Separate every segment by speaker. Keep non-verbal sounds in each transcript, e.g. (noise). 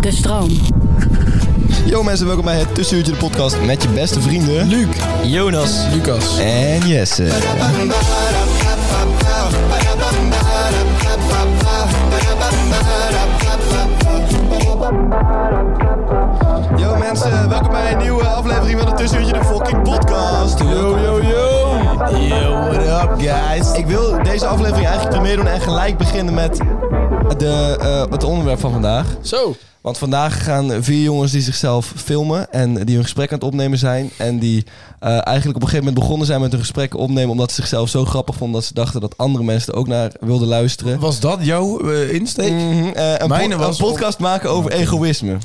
Speaker 1: De stroom.
Speaker 2: Yo mensen, welkom bij het Tussenuurtje de podcast met je beste vrienden... Luc, Jonas
Speaker 3: Lucas.
Speaker 2: en Jesse. Yo mensen, welkom bij een nieuwe aflevering van het Tussenuurtje de fucking podcast. Yo, yo, yo. Yo, what up guys. Ik wil deze aflevering eigenlijk premier doen en gelijk beginnen met de, eh, het onderwerp van vandaag.
Speaker 3: Zo.
Speaker 2: Want vandaag gaan vier jongens die zichzelf filmen en die hun gesprek aan het opnemen zijn. En die eh, eigenlijk op een gegeven moment begonnen zijn met hun gesprek opnemen omdat ze zichzelf zo grappig vonden dat ze dachten dat andere mensen er ook naar wilden luisteren.
Speaker 3: Was dat jouw eh, insteek?
Speaker 2: Mhm, eh, een,
Speaker 3: Mijne
Speaker 2: pod-
Speaker 3: was
Speaker 2: een podcast maken over egoïsme.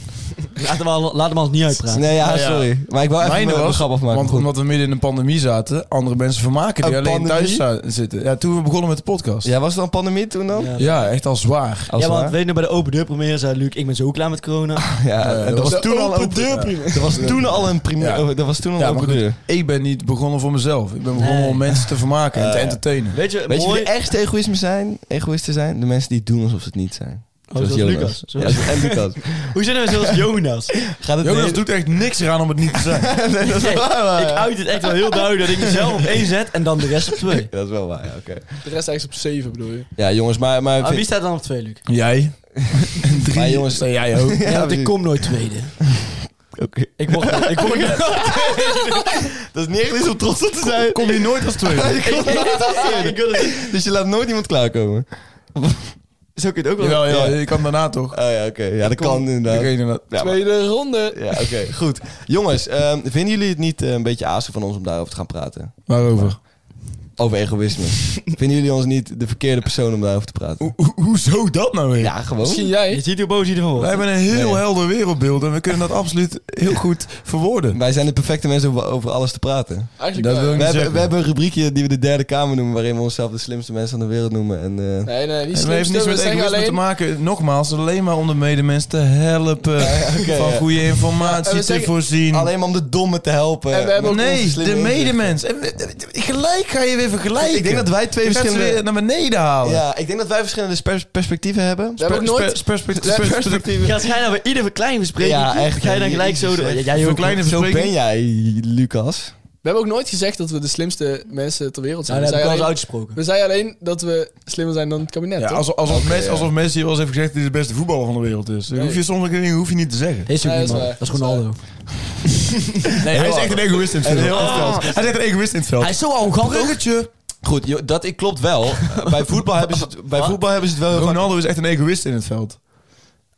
Speaker 4: Laat hem, al, laat hem al niet uitpraten.
Speaker 2: Nee, ja,
Speaker 3: Nou ja.
Speaker 2: sorry. Maar ik wou even
Speaker 3: Mijne
Speaker 2: mijn
Speaker 3: was,
Speaker 2: grappig maken.
Speaker 3: eh, want
Speaker 2: Goed.
Speaker 3: omdat we midden in een pandemie zaten, andere mensen vermaken die
Speaker 2: Een
Speaker 3: alleen
Speaker 2: pandemie?
Speaker 3: thuis za- zitten. Ja, toen we begonnen met de podcast. Ja,
Speaker 2: Ja, was het dan pandemie toen dan?
Speaker 4: Ja.
Speaker 3: echt al zwaar.
Speaker 2: Als
Speaker 4: ja,
Speaker 2: het
Speaker 4: want
Speaker 2: waar? Ah.
Speaker 4: weet je nog bij de open deur première zei Luc, ik ben zo klaar met corona.
Speaker 2: (laughs) Ja,
Speaker 3: Eh,
Speaker 2: dat
Speaker 3: dat
Speaker 2: was
Speaker 3: was de
Speaker 2: toen al
Speaker 3: open
Speaker 2: een (laughs)
Speaker 3: deur
Speaker 2: Dat was toen al een
Speaker 3: Ja.
Speaker 2: primeur. Dat was toen al een
Speaker 3: Ja, maar
Speaker 2: open
Speaker 3: goed,
Speaker 2: deur.
Speaker 3: ik ben niet begonnen voor mezelf. Ik ben begonnen
Speaker 4: Nee.
Speaker 3: om mensen te vermaken en te
Speaker 2: Eh.
Speaker 3: entertainen.
Speaker 4: Weet je,
Speaker 2: Weet je wie
Speaker 4: mooi...
Speaker 2: de ergste egoïsme zijn? egoïsten zijn? De mensen die doen alsof ze het niet zijn.
Speaker 4: Oh, zoals
Speaker 2: Jonas.
Speaker 4: Lucas.
Speaker 2: Ja,
Speaker 4: Zoals-
Speaker 2: en Lucas.
Speaker 4: Hoe zijn we zoals Jonas?
Speaker 2: Gaat het
Speaker 3: Jonas
Speaker 2: niet-
Speaker 3: doet echt niks eraan om het niet te
Speaker 5: (laughs)
Speaker 3: zijn.
Speaker 2: Nee, dat is
Speaker 4: Nee,
Speaker 2: wel waar.
Speaker 4: ik uit het echt wel heel duidelijk dat ik mezelf op één zet en dan de rest op twee.
Speaker 2: Dat is wel waar, ja, oké.
Speaker 5: De rest eigenlijk op 7 bedoel je?
Speaker 2: Ja, jongens, maar... maar
Speaker 4: Maar Ah, wie staat dan op twee, Luc?
Speaker 3: Jij. En drie.
Speaker 2: Maar jongens-
Speaker 3: Nee, jij ook.
Speaker 4: Ja, want ik
Speaker 2: precies.
Speaker 4: kom nooit tweede.
Speaker 2: Oké. (laughs)
Speaker 4: Ik mocht (laughs) ik mocht
Speaker 2: Dat is niet echt iets om trots op te zijn.
Speaker 3: Kom je nooit als
Speaker 2: (laughs)
Speaker 3: tweede?
Speaker 2: Ik kon nooit als tweede. Dus je laat nooit iemand klaarkomen. Zo kun je het ook wel...
Speaker 3: Jawel, ja,
Speaker 2: Ja.
Speaker 3: je kan daarna toch?
Speaker 2: Oh ja, oké. Ja, dat kan inderdaad.
Speaker 3: Ik weet inderdaad.
Speaker 2: Ja, maar-
Speaker 5: Tweede ronde.
Speaker 2: ja oké. Goed. Jongens, ehm, vinden jullie het niet eh, een beetje azen van ons om daarover te gaan praten?
Speaker 3: Waarover?
Speaker 2: Over egoïsme. vinden jullie ons niet de verkeerde persoon om daarover te praten?
Speaker 3: Ho- ho- hoezo dat nou weer?
Speaker 2: Ja, gewoon.
Speaker 5: Misschien
Speaker 4: Je
Speaker 5: jij.
Speaker 4: ziet hoe boos hij ervan
Speaker 3: Wij
Speaker 4: wordt.
Speaker 3: hebben een heel
Speaker 2: Nee.
Speaker 3: helder wereldbeeld en we kunnen dat absoluut heel goed verwoorden.
Speaker 2: Wij zijn de perfecte mensen om over alles te praten.
Speaker 5: Eigenlijk
Speaker 3: Dat wil
Speaker 5: wel.
Speaker 3: ik
Speaker 2: We
Speaker 3: niet
Speaker 2: hebben,
Speaker 3: zeggen.
Speaker 2: we hebben een rubriekje die we de derde kamer noemen, waarin we onszelf de slimste mensen van de wereld noemen. En, eh,
Speaker 5: Nee, nee, niet
Speaker 3: En dat
Speaker 5: slim.
Speaker 3: heeft niks
Speaker 5: stil,
Speaker 3: met
Speaker 5: we zeggen
Speaker 3: egoïsme te
Speaker 5: alleen...
Speaker 3: maken. Nogmaals, alleen maar om de medemens te helpen.
Speaker 2: oké,
Speaker 3: van
Speaker 2: ja.
Speaker 3: goede informatie
Speaker 5: En we
Speaker 3: te
Speaker 5: zeggen-
Speaker 3: voorzien.
Speaker 2: Alleen maar om de domme te helpen.
Speaker 5: En we hebben ook onze
Speaker 3: nee,
Speaker 2: slimme
Speaker 3: de medemens. En, eh, eh, gelijk ga je weer vergelijken.
Speaker 2: Ik denk dat wij twee
Speaker 3: Je gaat ze
Speaker 2: verschillende-
Speaker 3: weer naar beneden halen.
Speaker 2: Ja, ik denk dat wij verschillende pers- perspectieven hebben.
Speaker 5: We hebben ook nooit...
Speaker 3: Pers- pers- pers-
Speaker 5: Ja,
Speaker 3: pers-
Speaker 4: Ja, als jij nou bij ieder klein bespreking,
Speaker 2: Ja, echt,
Speaker 4: ga je dan
Speaker 2: hè.
Speaker 4: gelijk zo...
Speaker 2: Jezus,
Speaker 4: door-
Speaker 2: echt.
Speaker 4: Ja, jij ook.
Speaker 3: Verklein- kleine
Speaker 2: Zo
Speaker 3: verspreking.
Speaker 2: ben jij, Lucas.
Speaker 5: We hebben ook nooit gezegd dat we de slimste mensen ter wereld
Speaker 4: Ja,
Speaker 5: zijn.
Speaker 4: Nou, dat
Speaker 5: we,
Speaker 4: heb ik wel eens
Speaker 5: zeiden alleen,
Speaker 4: uitgesproken.
Speaker 5: we zeiden alleen dat we slimmer zijn dan het kabinet,
Speaker 3: Ja,
Speaker 5: toch?
Speaker 3: alsof, alsof,
Speaker 2: Oké,
Speaker 3: Messi,
Speaker 2: ja.
Speaker 3: alsof Messi wel eens heeft gezegd... dat hij de beste voetballer van de wereld is. Dat
Speaker 5: Nee.
Speaker 3: Hoef je sommige dingen hoef je niet te zeggen.
Speaker 4: Is ook
Speaker 5: Nee,
Speaker 4: niet,
Speaker 5: dat
Speaker 4: man.
Speaker 5: is waar.
Speaker 4: Dat is Ronaldo.
Speaker 3: Nee, hij is echt een egoïst in het veld. Hij is echt een egoïst in het veld.
Speaker 4: Hij is zo arrogant ook.
Speaker 3: Bruggetje.
Speaker 2: Goed, jo- dat ik klopt (laughs) wel. Eh, bij voetbal hebben ze het, bij
Speaker 4: Wat?
Speaker 2: voetbal hebben ze het wel heel vaak.
Speaker 3: Ronaldo is echt een egoïst in het veld.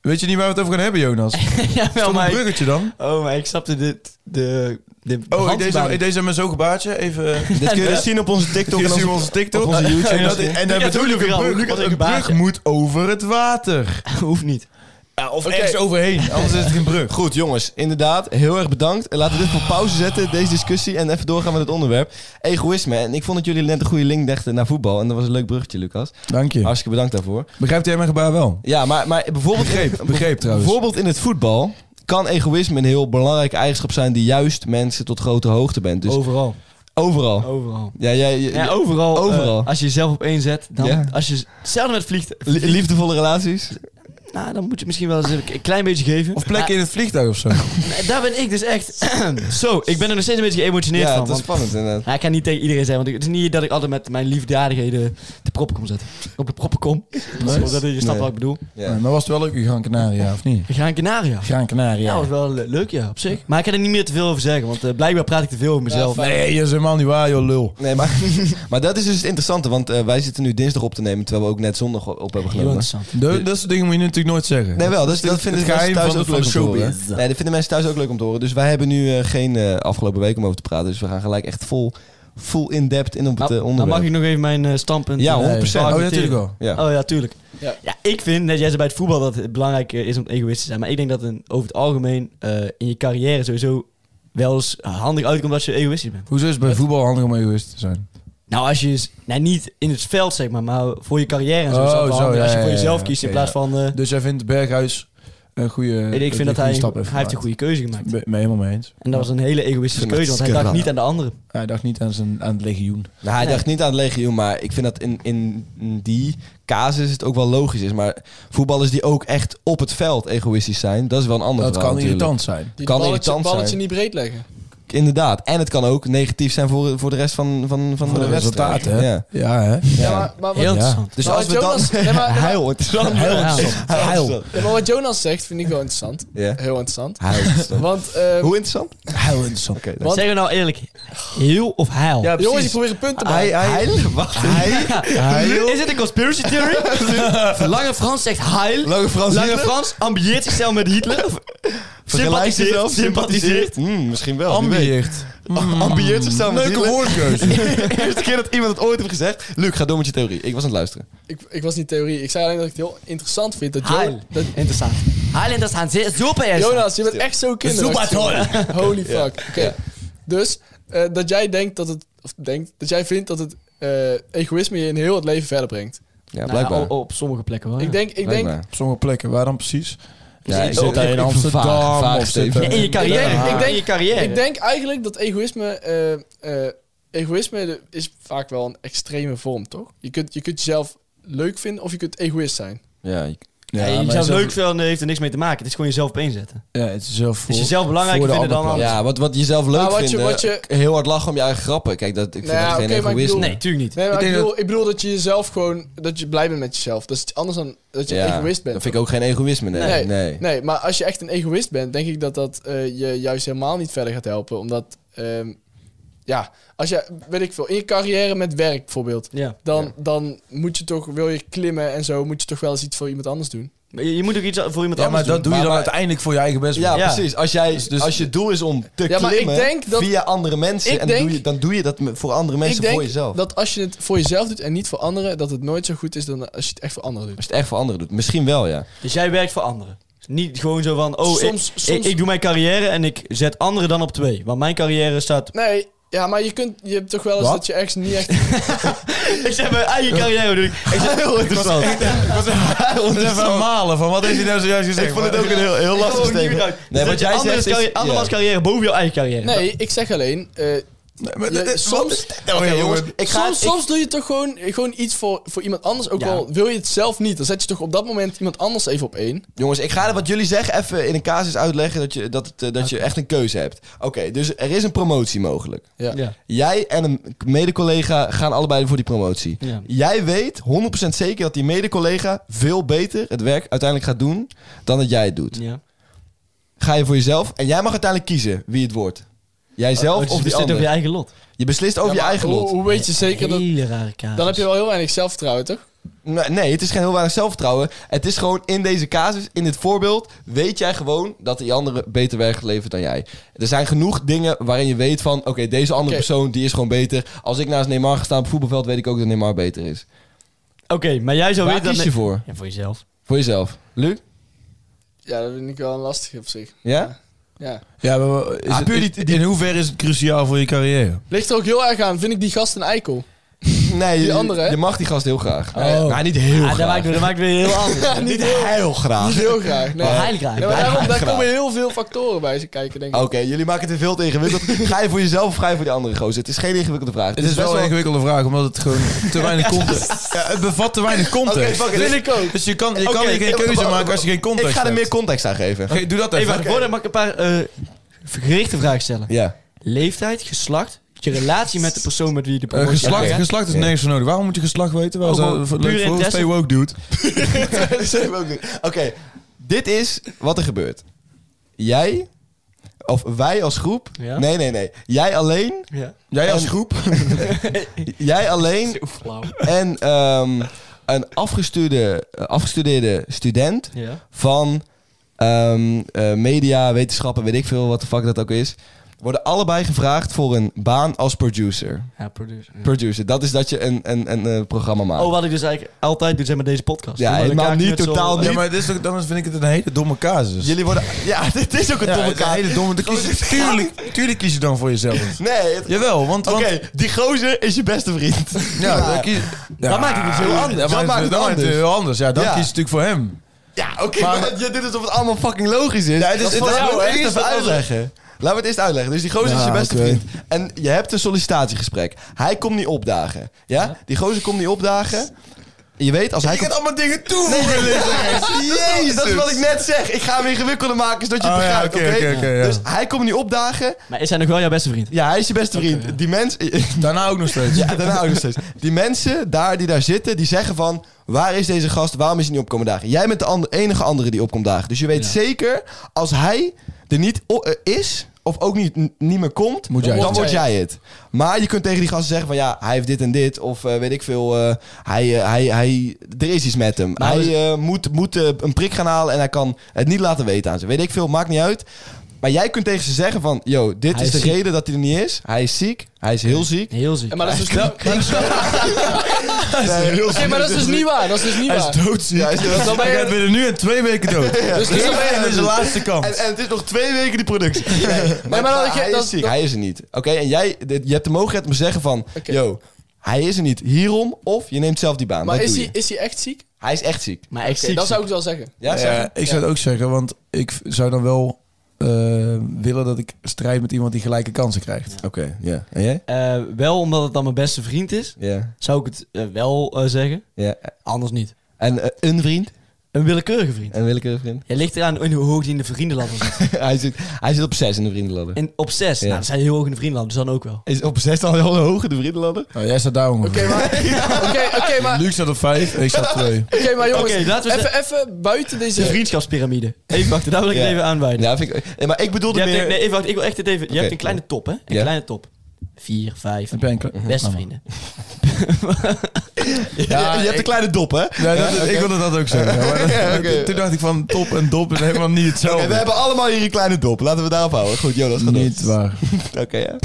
Speaker 3: Weet je niet waar we het over gaan hebben, Jonas? Is
Speaker 4: Jawel,
Speaker 3: dat een
Speaker 4: maar ik-
Speaker 3: bruggetje dan?
Speaker 4: Oh, maar ik snapte dit... De, de
Speaker 3: Oh, ik
Speaker 4: hand
Speaker 3: deed zo-
Speaker 4: bij-
Speaker 3: ik deed zo met zo'n gebaartje. (laughs) Even...
Speaker 2: Dit (laughs) kun je dus zien op onze TikTok
Speaker 3: Dit
Speaker 2: en
Speaker 3: zien
Speaker 2: onze,
Speaker 3: we op onze TikTok.
Speaker 2: op onze YouTube.
Speaker 3: En, dat, en daar
Speaker 4: Lucas
Speaker 3: bedoel ik een
Speaker 4: doet het
Speaker 3: brug.
Speaker 4: wel. Lucas
Speaker 3: want een
Speaker 4: doet een
Speaker 3: brug
Speaker 4: baasje.
Speaker 3: moet over het water.
Speaker 4: Hoeft niet.
Speaker 3: of
Speaker 5: ergens
Speaker 3: overheen. Anders is het geen brug.
Speaker 2: Goed, jongens, inderdaad, heel erg bedankt. En Laten we dit voor pauze zetten, deze discussie. En even doorgaan met het onderwerp. Egoïsme. En ik vond dat jullie net een goede link dachten naar voetbal. En dat was een leuk bruggetje, Lucas.
Speaker 3: (laughs) Dank je.
Speaker 2: Hartstikke bedankt daarvoor.
Speaker 3: Begrijpt jij mijn gebaar wel?
Speaker 2: Ja, maar, maar bijvoorbeeld,
Speaker 3: Begreep,
Speaker 2: in,
Speaker 3: begreep trouwens.
Speaker 2: bijvoorbeeld in het voetbal kan egoïsme een heel belangrijke eigenschap zijn die juist mensen tot grote hoogte bent.
Speaker 3: Oh.
Speaker 2: Dus
Speaker 4: overal.
Speaker 2: overal.
Speaker 4: Overal.
Speaker 2: Ja, jij,
Speaker 4: Ja, overal.
Speaker 2: Overal.
Speaker 4: eh, als je jezelf op één zet, dan...
Speaker 2: Ja.
Speaker 4: Als je... Hetzelfde met vliegt.
Speaker 2: li- liefdevolle relaties.
Speaker 4: nou, dan moet je misschien wel eens een klein beetje geven.
Speaker 3: Of plekken in het vliegtuig (laughs) of zo. Ja,
Speaker 4: Nou, daar ben ik dus echt... (clears throat) Zo, ik ben er nog steeds een beetje geëmotioneerd
Speaker 2: Ja,
Speaker 4: van.
Speaker 2: dat is
Speaker 4: want-
Speaker 2: spannend inderdaad.
Speaker 4: Nou, ik ga niet tegen iedereen zijn, want ik- het is niet dat ik altijd met mijn liefdadigheden de proppen kom zetten. Op de proppen kom. Zodat je snapt
Speaker 2: Nee.
Speaker 4: wat ik bedoel.
Speaker 2: Ja.
Speaker 3: Maar was het wel leuk in Gran Canaria, of niet?
Speaker 4: We gaan in Canaria.
Speaker 3: Gran Canaria.
Speaker 4: Ja, dat was wel le- leuk, ja, op zich. Maar ik ga er niet meer te veel over zeggen, want eh, blijkbaar praat ik te veel over mezelf.
Speaker 3: nee, dat is helemaal niet waar, joh, lul.
Speaker 2: Nee, maar, (laughs) maar dat is dus het interessante, want eh, wij zitten nu dinsdag op te nemen, terwijl we ook net zondag op hebben
Speaker 4: Heel
Speaker 2: genomen.
Speaker 4: interessant.
Speaker 3: De- dat soort dingen moet je natuurlijk nooit zeggen.
Speaker 2: Nee, wel, dus, dat vinden
Speaker 3: het
Speaker 2: mensen
Speaker 3: geheim
Speaker 2: thuis
Speaker 3: van-
Speaker 2: ook
Speaker 3: van
Speaker 2: leuk om te horen.
Speaker 3: showbiz.
Speaker 2: Nee, dat vinden mensen thuis ook leuk om te horen. Dus wij hebben nu eh, geen eh, afgelopen week om over te praten, dus we gaan gelijk echt vol, full in-depth in op het
Speaker 4: Nou,
Speaker 2: eh,
Speaker 4: dan
Speaker 2: onderwerp.
Speaker 4: mag ik nog even mijn eh, standpunt...
Speaker 2: Ja,
Speaker 4: eh,
Speaker 3: Nee.
Speaker 2: 100%.
Speaker 3: Oh, ja, natuurlijk wel.
Speaker 2: Ja.
Speaker 4: Oh ja, tuurlijk. Ja.
Speaker 5: Ja.
Speaker 4: ik vind, net jij zei bij het voetbal, dat het belangrijk eh, is om egoïst te zijn. Maar ik denk dat een, over het algemeen eh, in je carrière sowieso wel eens eh, handig uitkomt als je egoïstisch bent.
Speaker 3: Hoezo is het bij voetbal handig om egoïst te zijn?
Speaker 4: Nou, als je... is- Nou, niet in het veld, zeg maar, maar voor je carrière en zo. is dat
Speaker 3: Oh,
Speaker 4: wel
Speaker 3: zo,
Speaker 4: handig
Speaker 3: ja,
Speaker 4: als je voor
Speaker 3: ja, ja,
Speaker 4: jezelf
Speaker 3: ja,
Speaker 4: kiest in
Speaker 3: oké,
Speaker 4: plaats van... eh,
Speaker 3: Dus jij vindt Berghuis een goede
Speaker 4: weet ik, ik vind dat hij, hij heeft een goede keuze gemaakt.
Speaker 3: Ben ben helemaal mee eens.
Speaker 4: En dat was een hele egoïstische
Speaker 2: Ik vind
Speaker 4: keuze,
Speaker 2: dat
Speaker 4: want hij dacht
Speaker 2: skandalen.
Speaker 4: niet aan de anderen.
Speaker 3: Hij dacht niet aan, zijn, aan het legioen.
Speaker 2: Nou, hij
Speaker 4: Nee.
Speaker 2: dacht niet aan het legioen, maar ik vind dat in, in die casus het ook wel logisch is. Maar voetballers die ook echt op het veld egoïstisch zijn, dat is wel een ander
Speaker 3: Dat
Speaker 2: verhaal
Speaker 3: kan
Speaker 2: natuurlijk.
Speaker 3: irritant zijn.
Speaker 5: Die
Speaker 2: Kan
Speaker 5: balletje,
Speaker 2: irritant
Speaker 5: balletje
Speaker 2: zijn.
Speaker 5: niet breed leggen.
Speaker 2: Inderdaad. En het kan ook negatief zijn voor, voor de rest van, van, van
Speaker 3: Voor
Speaker 2: de,
Speaker 3: de
Speaker 2: wedstrijd.
Speaker 3: resultaten, hè?
Speaker 2: Ja.
Speaker 3: Ja, hè?
Speaker 5: Ja, maar, maar wat,
Speaker 4: Heel
Speaker 3: Ja.
Speaker 4: interessant.
Speaker 2: Dus
Speaker 5: Maar
Speaker 2: als we
Speaker 5: als Jonas-
Speaker 2: dan...
Speaker 5: Nee, maar-
Speaker 2: Heel interessant.
Speaker 3: Heel
Speaker 4: Ja.
Speaker 3: interessant. Heel.
Speaker 5: ja, maar wat Jonas zegt vind ik wel interessant.
Speaker 2: Ja.
Speaker 5: Heel interessant.
Speaker 2: Heel interessant.
Speaker 5: Want, eh,
Speaker 2: Hoe interessant?
Speaker 3: Heel interessant.
Speaker 2: Oké. dan-
Speaker 5: Want-
Speaker 4: Zeggen we nou eerlijk, heel of heil?
Speaker 3: Ja,
Speaker 5: jongens,
Speaker 3: precies.
Speaker 5: ik probeer een punt te maken.
Speaker 2: Hij, hij, wacht.
Speaker 3: Heil.
Speaker 4: Is het een conspiracy theory? (laughs) Lange Frans zegt heil.
Speaker 2: Lange Frans
Speaker 4: Lange
Speaker 2: Hitler?
Speaker 4: Frans ambieert zichzelf met Hitler.
Speaker 2: Vergelijkt
Speaker 4: Sympathiseert.
Speaker 2: zichzelf,
Speaker 4: Sympathiseert.
Speaker 2: Hmm, misschien wel. wie weet. (laughs)
Speaker 3: Ambieert.
Speaker 2: Hmm. Ambieert zichzelf met
Speaker 3: Leuke
Speaker 2: Hitler.
Speaker 3: woordkeuze.
Speaker 2: De (laughs) eerste keer dat iemand het ooit heeft gezegd. Luc, ga door met je theorie. Ik was aan het luisteren.
Speaker 5: Ik, ik was niet theorie. Ik zei alleen dat ik het heel interessant vind. Dat, Jo-
Speaker 4: Heil.
Speaker 5: dat
Speaker 4: Interessant. Heil interessant. Zeer Super Nou is.
Speaker 5: Jonas, je bent echt zo kinderachtig. jongen. (laughs) Holy fuck. Oké. Dus eh, dat jij denkt dat het, of denkt, dat jij vindt dat het eh, egoïsme je in heel het leven verder brengt.
Speaker 2: Nou Ja, oh, blijkbaar.
Speaker 4: op, op sommige plekken wel. Oh ja.
Speaker 5: Ik denk, ik denk,
Speaker 2: Blijkbaar.
Speaker 3: Op sommige plekken. Waar dan precies?
Speaker 2: Ja,
Speaker 3: Zit
Speaker 2: ik-
Speaker 3: hij in
Speaker 2: ik-
Speaker 3: Amsterdam?
Speaker 2: vaag, vaag,
Speaker 3: of zit
Speaker 2: Steven.
Speaker 4: Ja,
Speaker 3: hij-
Speaker 4: in je carrière.
Speaker 5: Ik denk- ik denk-
Speaker 4: in je carrière.
Speaker 5: ik denk eigenlijk dat egoïsme, eh, eh, egoïsme de- is vaak wel een extreme vorm, toch? Je kunt, je kunt jezelf leuk vinden of je kunt egoïst zijn.
Speaker 2: Ja, ik-
Speaker 4: ja,
Speaker 3: maar
Speaker 4: jezelf
Speaker 3: jezelf-
Speaker 4: leuk vinden heeft er niks mee te maken. Het is gewoon jezelf op inzetten.
Speaker 3: Ja, het is zelf voor...
Speaker 4: Is jezelf belangrijker
Speaker 3: voor de
Speaker 4: vinden dan
Speaker 3: andere
Speaker 4: Ja.
Speaker 2: ja wat, wat jezelf leuk
Speaker 5: Maar wat je-
Speaker 2: vinden.
Speaker 5: wat je-
Speaker 2: Heel hard lachen om je eigen grappen. Kijk, dat, ik vind
Speaker 5: Nou ja,
Speaker 2: dat geen
Speaker 5: oké, maar ik
Speaker 2: egoïsme.
Speaker 5: bedoel-
Speaker 4: Nee, tuurlijk niet.
Speaker 5: Nee, maar
Speaker 3: Ik
Speaker 5: ik,
Speaker 3: denk
Speaker 5: bedoel, ik bedoel dat je jezelf gewoon, dat je blij bent met jezelf. Dat is iets anders dan dat je
Speaker 2: Ja,
Speaker 5: egoïst bent.
Speaker 2: Dat vind ik ook geen egoïsme. Nee, nee.
Speaker 5: Nee. Nee, maar als je echt een egoïst bent, denk ik dat dat eh, je juist helemaal niet verder gaat helpen. Omdat, ehm, ja, als je, weet ik veel, in je carrière met werk bijvoorbeeld,
Speaker 4: Ja.
Speaker 5: dan, dan moet je toch, wil je klimmen en zo, moet je toch wel eens iets voor iemand anders doen.
Speaker 4: Maar Je, je moet ook iets voor iemand
Speaker 3: Ja, maar
Speaker 4: anders
Speaker 3: dat doe
Speaker 4: doen.
Speaker 3: je
Speaker 2: Maar-
Speaker 3: dan
Speaker 2: maar-
Speaker 3: uiteindelijk voor je eigen best.
Speaker 2: Ja,
Speaker 4: Ja.
Speaker 2: precies. Als, jij,
Speaker 3: dus-
Speaker 2: als je doel is om te
Speaker 5: Ja, maar ik
Speaker 2: klimmen
Speaker 5: denk dat-
Speaker 2: via andere mensen,
Speaker 5: Ik
Speaker 2: en
Speaker 5: denk-
Speaker 2: doe je, dan doe je dat met- voor andere mensen,
Speaker 5: ik denk
Speaker 2: voor jezelf.
Speaker 5: dat als je het voor jezelf doet en niet voor anderen, dat het nooit zo goed is dan als je het echt voor anderen doet.
Speaker 2: Als je het echt voor anderen doet. Misschien wel, ja.
Speaker 4: Dus jij werkt voor anderen. Dus Niet gewoon zo van, oh,
Speaker 5: Soms-
Speaker 4: ik,
Speaker 5: soms-
Speaker 4: Ik, ik doe mijn carrière en ik zet anderen dan op twee. Want mijn carrière
Speaker 5: (laughs)
Speaker 4: staat...
Speaker 5: Nee, ja, maar je, kunt, je hebt toch wel eens
Speaker 3: Wat?
Speaker 5: dat je ergens niet echt...
Speaker 2: (laughs)
Speaker 4: Ik zet mijn eigen carrière, doe (laughs) ik. Ik zet heel interessant.
Speaker 2: (laughs)
Speaker 3: Even malen van wat heeft hij nou zojuist gezegd?
Speaker 2: Ik vond het ook een heel, heel lastig statement.
Speaker 4: Nee, wat jij zegt
Speaker 2: is- ja.
Speaker 4: Andermans carrière boven jouw eigen carrière.
Speaker 5: Nee, ik zeg alleen, eh,
Speaker 3: Nee, maar
Speaker 5: Ja,
Speaker 3: dit is- wat
Speaker 5: soms- Oh,
Speaker 3: is dit
Speaker 2: Oké,
Speaker 3: nou weer,
Speaker 2: jongens.
Speaker 3: jongen?
Speaker 2: Oh Ik ga...
Speaker 5: soms,
Speaker 2: ik-
Speaker 5: soms doe je toch gewoon, gewoon iets voor, voor iemand anders. Ook
Speaker 4: Ja.
Speaker 5: al wil je het zelf niet. Dan zet je toch op dat moment iemand anders even op één.
Speaker 2: Jongens, ik ga wat jullie zeggen even in een casus uitleggen dat je, dat het, eh, dat je echt een keuze hebt. Oké, dus er is een promotie mogelijk.
Speaker 5: Ja.
Speaker 4: Ja.
Speaker 2: Jij en een mede-collega gaan allebei voor die promotie.
Speaker 4: Ja.
Speaker 2: Jij weet 100% zeker dat die mede-collega veel beter het werk uiteindelijk gaat doen dan dat jij het doet.
Speaker 4: Ja.
Speaker 2: Ga je voor jezelf en jij mag uiteindelijk kiezen wie het wordt. Jijzelf
Speaker 4: Oh, dus
Speaker 2: of
Speaker 4: je
Speaker 2: die
Speaker 4: zit
Speaker 2: ander.
Speaker 4: op je eigen lot.
Speaker 2: Je beslist over
Speaker 5: Ja,
Speaker 2: je
Speaker 5: maar
Speaker 2: eigen
Speaker 5: hoe,
Speaker 2: lot.
Speaker 5: Hoe weet je zeker dat...
Speaker 4: Hele rare kaart.
Speaker 5: Dan heb je wel heel weinig zelfvertrouwen, toch?
Speaker 2: Nee, nee, het is geen heel weinig zelfvertrouwen. Het is gewoon in deze casus, in dit voorbeeld, weet jij gewoon dat die andere beter werk levert dan jij. Er zijn genoeg dingen waarin je weet van, oké, deze andere
Speaker 5: Oké.
Speaker 2: persoon die is gewoon beter. Als ik naast Neymar ga staan op het voetbalveld, weet ik ook dat Neymar beter is.
Speaker 4: Oké, maar jij zou
Speaker 2: Waar
Speaker 4: weten... dat
Speaker 2: kies
Speaker 4: ne-
Speaker 2: je voor?
Speaker 4: Ja, voor jezelf.
Speaker 2: Voor jezelf. Luc?
Speaker 5: Ja, dat vind ik wel een lastige op zich.
Speaker 2: Ja?
Speaker 5: Ja.
Speaker 3: Ja, maar is
Speaker 2: Ah,
Speaker 3: het-
Speaker 2: puur die-
Speaker 3: in hoeverre is het cruciaal voor je carrière?
Speaker 5: Ligt er ook heel erg aan. Vind ik die gast een eikel?
Speaker 2: Nee,
Speaker 5: Die
Speaker 2: je,
Speaker 5: andere, hè?
Speaker 2: je mag die gast heel graag.
Speaker 5: Oh.
Speaker 2: Maar niet heel
Speaker 4: Ah, dat
Speaker 2: graag.
Speaker 4: maakt, dat maakt weer heel anders.
Speaker 5: Ja, niet
Speaker 2: Niet
Speaker 5: heel,
Speaker 2: heel graag.
Speaker 5: niet heel graag. Nee.
Speaker 4: Maar heilig graag.
Speaker 5: Nee, maar daarom, daar
Speaker 2: Graag. Oh,
Speaker 5: komen heel veel factoren bij ze kijken, denk ik.
Speaker 2: Oké, jullie maken het veel te ingewikkeld.
Speaker 5: (laughs)
Speaker 2: Ga je voor jezelf of ga je voor die andere gozer? Het is geen ingewikkelde vraag.
Speaker 3: Het is
Speaker 2: best
Speaker 3: wel een ingewikkelde vraag, omdat het gewoon te weinig context... Ja, het bevat te weinig context.
Speaker 2: Oké, fuck it.
Speaker 3: dus,
Speaker 5: Vind ik ook.
Speaker 3: dus je kan, je kan
Speaker 2: Oké,
Speaker 3: hier geen keuze
Speaker 2: wa- wa-
Speaker 3: maken als je geen context
Speaker 2: Ik ga er
Speaker 3: hebt.
Speaker 2: meer context aan geven.
Speaker 3: Oké, doe dat
Speaker 4: Even,
Speaker 3: even.
Speaker 4: wacht, Gordon, mag ik een paar eh, gerichte vragen stellen?
Speaker 2: Ja.
Speaker 4: Leeftijd, geslacht, je relatie met de persoon met wie je de
Speaker 3: Eh,
Speaker 4: promotie
Speaker 3: geslacht,
Speaker 4: aangaat.
Speaker 3: geslacht is
Speaker 2: Ja.
Speaker 3: nergens voor nodig. Waarom moet je geslacht weten? Waar
Speaker 4: Oh,
Speaker 3: is dat
Speaker 4: maar
Speaker 3: voor-
Speaker 4: pure
Speaker 3: leuk voor?
Speaker 4: interesse.
Speaker 3: Stay woke, dude.
Speaker 2: (laughs) Dat zijn we ook doen. Oké, dit is wat er gebeurt. Jij, of wij als groep.
Speaker 4: Ja.
Speaker 2: Nee, nee, nee. Jij alleen.
Speaker 4: Ja.
Speaker 3: Jij als
Speaker 2: en- (laughs)
Speaker 3: groep?
Speaker 2: Jij alleen
Speaker 4: Zo flauw.
Speaker 2: en ehm, een afgestudeerde, afgestudeerde student
Speaker 4: Ja.
Speaker 2: van ehm, eh, media, wetenschappen, weet ik veel wat de fuck dat ook is. Worden allebei gevraagd voor een baan als producer.
Speaker 4: Ja, producer.
Speaker 2: Producer, dat is dat je een, een, een, eh, programma maakt.
Speaker 4: Oh, wat ik dus eigenlijk altijd doe, zeg maar deze podcast.
Speaker 2: Ja,
Speaker 4: Doe maar de
Speaker 2: helemaal niet,
Speaker 4: kaartmutsel.
Speaker 2: totaal niet.
Speaker 3: Ja, maar dit is toch- dan vind ik het een hele domme casus.
Speaker 2: Jullie worden. Ja, (laughs) dit is ook een
Speaker 3: Ja,
Speaker 2: domme
Speaker 3: het is een
Speaker 2: kaart.
Speaker 3: hele domme...
Speaker 2: (laughs)
Speaker 3: dan kies je- Tuurlijk, tuurlijk kies je dan voor jezelf.
Speaker 2: Nee, het-
Speaker 3: Jawel, want...
Speaker 2: Oké,
Speaker 3: want
Speaker 2: die gozer is je beste vriend.
Speaker 3: Ja, dan kies...
Speaker 4: Dat maakt het dus heel anders.
Speaker 3: Ja,
Speaker 2: Dat
Speaker 3: maar
Speaker 2: maakt het
Speaker 3: dan maakt het
Speaker 2: anders.
Speaker 3: heel anders. Ja, dan
Speaker 2: Ja.
Speaker 3: kies je natuurlijk voor
Speaker 2: (laughs)
Speaker 3: hem.
Speaker 2: Ja, oké,
Speaker 3: Maar-
Speaker 2: maar je doet alsof het allemaal fucking logisch is. Ja, het
Speaker 3: is- het is
Speaker 2: jou
Speaker 3: logisch,
Speaker 2: echt
Speaker 3: dat
Speaker 2: even
Speaker 3: was-
Speaker 2: uitleggen. Laten we het eerst uitleggen. Dus die gozer
Speaker 3: Ja,
Speaker 2: is je beste
Speaker 3: oké.
Speaker 2: vriend. En je hebt een sollicitatiegesprek. Hij komt niet opdagen. Ja? Die gozer komt niet opdagen. Je weet, als hij...
Speaker 3: Je
Speaker 2: komt-
Speaker 3: gaat allemaal dingen toevoegen. (laughs)
Speaker 2: Jezus. Dat is wat ik net zeg. Ik ga hem ingewikkelder maken, zodat je het
Speaker 3: Oh, ja,
Speaker 2: begrijpt, oké?
Speaker 3: oké, oké, oké, ja.
Speaker 2: Dus hij komt niet opdagen.
Speaker 4: Maar is hij nog wel jouw beste vriend?
Speaker 2: Ja, hij is je beste vriend. Die mens...
Speaker 3: Daarna ook nog steeds.
Speaker 2: Ja, daarna ook nog steeds. Die mensen daar die daar zitten, die zeggen van... Waar is deze gast? Waarom is hij niet opkomen dagen? Jij bent de ander- enige andere die opkomt dagen. Dus je weet
Speaker 4: Ja.
Speaker 2: zeker, als hij er niet o- eh, is... of ook niet, n- niet meer komt,
Speaker 3: Moet jij
Speaker 2: dan
Speaker 3: het.
Speaker 2: word jij het. Maar je kunt tegen die gasten zeggen van... ja, hij heeft dit en dit. Of eh, weet ik veel. eh, hij, eh, hij, hij, er is iets met hem.
Speaker 4: Maar
Speaker 2: hij
Speaker 4: als-
Speaker 2: eh, moet, moet eh, een prik gaan halen... en hij kan het niet laten weten aan ze. Weet ik veel, maakt niet uit. Maar jij kunt tegen ze zeggen van... yo, dit
Speaker 4: Hij
Speaker 2: is
Speaker 4: is
Speaker 2: de
Speaker 4: ziek.
Speaker 2: reden dat hij er niet is. Hij is ziek. Hij is heel ziek.
Speaker 4: Heel ziek.
Speaker 5: En maar dat is dus niet- maar dat is- Nee, maar dat is dus niet waar. Dat is dus niet
Speaker 3: Hij is
Speaker 5: waar.
Speaker 3: doodziek.
Speaker 2: Ja, hij is doodziek.
Speaker 3: Dan ben je binnen nu en twee weken dood.
Speaker 5: Dus
Speaker 3: Dit
Speaker 5: dus-
Speaker 3: is de laatste
Speaker 2: En,
Speaker 3: kans.
Speaker 2: en het is nog twee weken die productie. (laughs) Nee, maar,
Speaker 5: maar dat-
Speaker 2: hij,
Speaker 5: dat-
Speaker 2: is ziek,
Speaker 5: dat-
Speaker 2: hij is er niet. Oké, en jij, dit- je hebt de mogelijkheid om te zeggen van...
Speaker 5: Oké.
Speaker 2: Yo, hij is er niet hierom of je neemt zelf die baan.
Speaker 5: Maar
Speaker 2: Wat
Speaker 5: is
Speaker 2: doe
Speaker 5: hij,
Speaker 2: je?
Speaker 5: is hij echt ziek?
Speaker 2: Hij is echt ziek.
Speaker 4: Maar echt
Speaker 5: Oké,
Speaker 4: ziek.
Speaker 5: dat zou ik wel zeggen.
Speaker 2: Ja, zeg
Speaker 3: Ja,
Speaker 2: maar.
Speaker 3: ik zou het ook zeggen, want ik v- zou dan wel eh, willen dat ik strijd met iemand die gelijke kansen krijgt.
Speaker 2: Oké, ja. En jij?
Speaker 4: Eh, wel omdat het dan mijn beste vriend is,
Speaker 2: Ja.
Speaker 4: zou ik het eh, wel eh, zeggen.
Speaker 2: ja.
Speaker 4: Anders niet.
Speaker 2: En eh, een vriend?
Speaker 4: Een willekeurige vriend.
Speaker 2: Een willekeurige vriend? (laughs)
Speaker 4: Je ligt eraan in hoe hoog die in de vriendenladder zit.
Speaker 2: hij, zit, hij zit op zes in de vriendenladder.
Speaker 4: En op zes.
Speaker 2: Ja.
Speaker 4: Nou, dat zijn heel hoog in de vriendenladder, dus dan ook wel.
Speaker 2: Is op zes dan heel hoog in de vriendenladder?
Speaker 3: Nou, jij staat daar
Speaker 5: Oké,
Speaker 3: ongeveer.
Speaker 5: maar, oké, oké, maar,
Speaker 3: Luc staat op vijf, ik sta op twee.
Speaker 5: oké, maar jongens,
Speaker 4: Oké, laten we
Speaker 5: even, even buiten
Speaker 4: De
Speaker 5: deze...
Speaker 4: vriendschappyramide. Even wachten, daar wil ik
Speaker 2: Ja.
Speaker 4: het even aanwijden.
Speaker 2: Ja, vind ik... eh, Maar ik bedoelde
Speaker 4: Je hebt,
Speaker 2: meer...
Speaker 4: nee, even wachten, ik wil echt het even... Je
Speaker 2: Oké.
Speaker 4: hebt een kleine top, hè? Een
Speaker 2: Ja.
Speaker 4: kleine top. Vier, vijf,
Speaker 3: Heb jij een Nou, kle-
Speaker 4: beste vrienden.
Speaker 2: Ja, je hebt een kleine dop, hè?
Speaker 3: Ja, dat, Ik wilde dat ook zeggen. ja, maar dat-
Speaker 2: Ja, oké.
Speaker 3: (laughs) Toen dacht ik van top en dop is helemaal niet hetzelfde.
Speaker 2: Oké, we hebben allemaal hier een kleine dop. Laten we daarop houden. Goed, Jonas, gaat
Speaker 3: Niet waar.
Speaker 2: Oké, ja.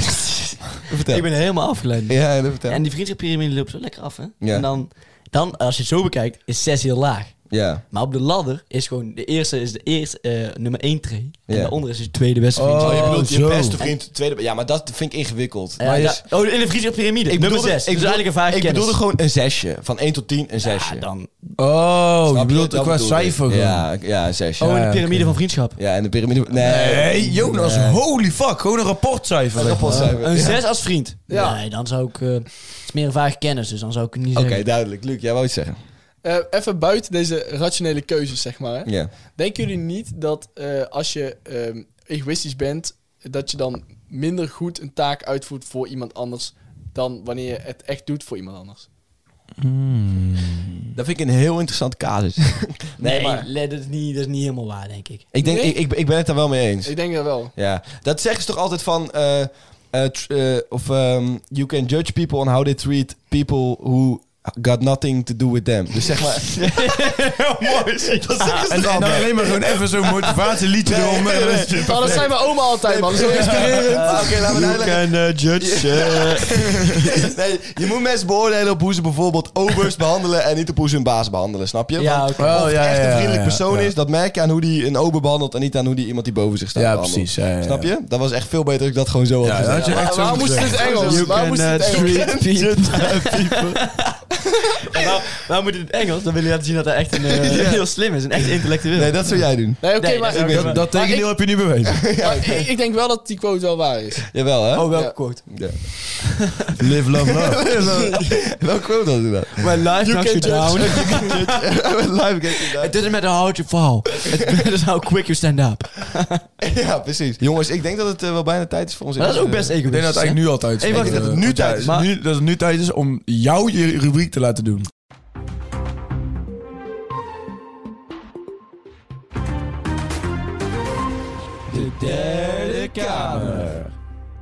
Speaker 2: Vertel.
Speaker 4: Ik ben helemaal afgeleid.
Speaker 2: Ja, dat vertel.
Speaker 4: En die vriendschappyramide loopt zo lekker af, hè?
Speaker 2: Ja.
Speaker 4: En dan, dan, als je het zo bekijkt, is zes heel laag.
Speaker 2: Ja.
Speaker 4: Maar op de ladder is gewoon... De eerste is de eerste, eh, nummer één tree. En
Speaker 2: Ja.
Speaker 4: daaronder is de tweede beste vriend.
Speaker 2: Oh, je
Speaker 3: Oh,
Speaker 2: bedoelt je
Speaker 3: zo.
Speaker 2: beste vriend, tweede... Ja, maar dat vind ik ingewikkeld.
Speaker 4: Eh,
Speaker 2: maar je-
Speaker 4: da- oh, in de vriendschappyramide.
Speaker 2: ik
Speaker 4: Nummer
Speaker 2: bedoelde-
Speaker 4: zes.
Speaker 2: ik
Speaker 4: dus
Speaker 2: bedoel-
Speaker 4: eigenlijk een vijf
Speaker 2: Ik
Speaker 4: kennis.
Speaker 2: bedoelde gewoon een zesje. Van 1 tot 10 een zesje.
Speaker 4: Ja, dan.
Speaker 3: Oh, je
Speaker 2: Snap
Speaker 3: bedoelt
Speaker 2: Dat
Speaker 3: qua
Speaker 2: bedoelde ik.
Speaker 3: cijfer gewoon.
Speaker 2: Ja, ja, een zesje.
Speaker 4: Oh, in
Speaker 2: ja.
Speaker 4: de
Speaker 3: oké.
Speaker 4: piramide van vriendschap.
Speaker 2: Ja, en de piramide... Nee.
Speaker 3: Hey, Jonas, holy fuck. Gewoon een rapportcijfer. zeg maar.
Speaker 2: Rapportcijfer.
Speaker 4: Een (laughs) zes als vriend.
Speaker 5: Ja.
Speaker 4: Nee, dan zou ik... eh, het is meer een vaag kennis, dus dan zou ik het niet
Speaker 2: Oké,
Speaker 4: zeggen.
Speaker 2: duidelijk. Luc, jij wou iets zeggen.
Speaker 5: eh, even buiten deze rationele keuzes, zeg maar. Hè?
Speaker 2: Ja.
Speaker 5: Denken jullie niet dat eh, als je ehm, egoïstisch bent, dat je dan minder goed een taak uitvoert voor iemand anders dan wanneer je het echt doet voor iemand anders?
Speaker 2: Dat vind ik een heel interessant casus.
Speaker 4: Nee,
Speaker 2: nee, maar...
Speaker 4: le- dat, is niet, dat is niet helemaal waar, denk
Speaker 2: (laughs)
Speaker 4: ik.
Speaker 2: Ik, denk,
Speaker 5: Nee?
Speaker 2: ik, ik, ik ben het daar wel mee eens.
Speaker 5: Ik denk dat
Speaker 2: (laughs)
Speaker 5: wel.
Speaker 2: Ja. Dat zeggen ze toch altijd van... eh, eh, tr- eh, of ehm, you can judge people on how they treat people who got nothing to do with them. Dus zeg maar... (laughs) mooi. Dat zeggen
Speaker 3: En,
Speaker 2: ze
Speaker 3: en dan alleen maar gewoon even zo'n motivatieliedje
Speaker 2: Nee,
Speaker 3: eronder.
Speaker 2: nee,
Speaker 3: en dan
Speaker 2: nee.
Speaker 3: is het
Speaker 5: Oh, dat zijn mijn oma altijd, man. Dat is ook inspirerend.
Speaker 2: Ah, Oké, laten we
Speaker 4: You
Speaker 2: het uitleggen.
Speaker 4: can uh, judge. eh.
Speaker 2: (laughs) Nee, je moet mensen beoordelen op hoe ze bijvoorbeeld obers behandelen en niet op hoe ze hun baas behandelen, snap je?
Speaker 4: ja,
Speaker 2: Want
Speaker 4: oké.
Speaker 3: Oh,
Speaker 2: of het
Speaker 3: ja,
Speaker 2: echt
Speaker 3: ja,
Speaker 2: een
Speaker 3: ja,
Speaker 2: vriendelijk
Speaker 3: ja,
Speaker 2: persoon
Speaker 3: ja.
Speaker 2: is, dat merk je aan hoe die een ober behandelt en niet aan hoe die iemand die boven zich staat
Speaker 3: Ja,
Speaker 2: behandelt.
Speaker 3: precies, ja, ja, ja.
Speaker 2: Snap je? Dat was echt veel beter dat ik dat gewoon zo had
Speaker 3: Ja, dat
Speaker 2: gezegd.
Speaker 3: had je echt zo
Speaker 5: Waarom moest het in
Speaker 3: gezegd.
Speaker 5: het Engels?
Speaker 4: You
Speaker 5: Waarom
Speaker 4: can
Speaker 5: moest het in
Speaker 4: uh,
Speaker 5: het Engels?
Speaker 4: treat people. En nou, nou moet het in het Engels, dan wil je laten zien dat hij echt een, eh, heel slim is. Een echt intellectueel.
Speaker 2: Nee, dat zou jij doen.
Speaker 5: Nee, oké,
Speaker 4: Nee,
Speaker 5: maar,
Speaker 4: dat is
Speaker 5: ik,
Speaker 4: ook
Speaker 3: Dat, dat (laughs) tegendeel heb je nu bewezen.
Speaker 5: ik- ik denk wel dat die quote wel waar is.
Speaker 2: Jawel, hè?
Speaker 4: Oh, welke
Speaker 5: Ja.
Speaker 4: quote?
Speaker 2: Ja.
Speaker 3: (laughs) Live,
Speaker 2: (laughs)
Speaker 3: love, love.
Speaker 2: Welk quote had ik dat?
Speaker 4: My life knocks you
Speaker 3: Ah,
Speaker 4: down.
Speaker 2: Live getting down.
Speaker 4: It doesn't matter how hard you fall. It (laughs) matters how quick you stand up.
Speaker 2: (laughs) Ja, precies. Jongens, ik denk dat het eh, wel bijna tijd is voor ons.
Speaker 4: Maar dat is ook best
Speaker 3: Ik denk dat
Speaker 4: egoïstisch.
Speaker 3: het eigenlijk nu al tijd is.
Speaker 4: Hey, wacht,
Speaker 3: Eh,
Speaker 4: dat het
Speaker 2: nu
Speaker 3: want ja,
Speaker 2: tijd is,
Speaker 4: maar-
Speaker 3: nu- Dat het nu tijd is om jou je rubriek te laten doen.
Speaker 2: de derde kamer.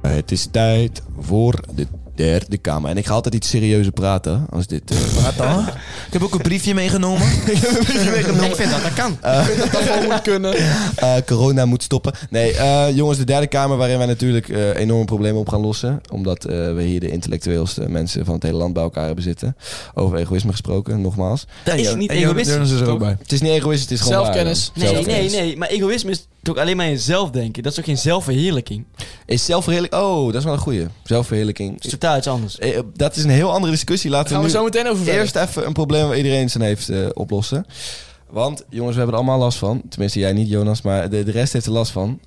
Speaker 2: Eh, Het is tijd voor de derde kamer. En ik ga altijd iets serieuzer praten als dit... eh,
Speaker 3: (laughs) Wat dan? Ik heb ook een briefje
Speaker 2: (laughs)
Speaker 3: meegenomen.
Speaker 4: Ik vind Eh, dat dat kan.
Speaker 5: Dat dat wel moet kunnen.
Speaker 2: Eh, corona moet stoppen. Nee, eh, jongens, de derde kamer waarin wij natuurlijk eh, enorme problemen op gaan lossen. Omdat eh, we hier de intellectueelste mensen van het hele land bij elkaar hebben zitten. Over egoïsme gesproken, nogmaals.
Speaker 4: Dat is niet
Speaker 3: En Jonas-
Speaker 4: egoïstisch.
Speaker 3: Jonas is er ook
Speaker 4: toch?
Speaker 3: bij.
Speaker 2: Het is niet egoïst, het is gewoon
Speaker 5: Zelfkennis.
Speaker 2: waar.
Speaker 4: Nee, nee,
Speaker 2: Zelfkennis.
Speaker 4: nee. Maar egoïsme is toch alleen maar in jezelf denken. Dat is toch geen zelfverheerlijking?
Speaker 2: Is zelfverheerlijking... Oh, dat is wel een goeie. Zelfverheerlijking.
Speaker 4: Dat is totaal iets anders.
Speaker 2: Eh, eh, dat is een heel andere discussie. Laten
Speaker 5: Daar gaan we
Speaker 2: nu-
Speaker 5: zo meteen over verder.
Speaker 2: eerst even een probleem waar iedereen zijn heeft eh, oplossen. Want jongens, we hebben er allemaal last van. Tenminste, jij niet, Jonas, maar de, de rest heeft er last van.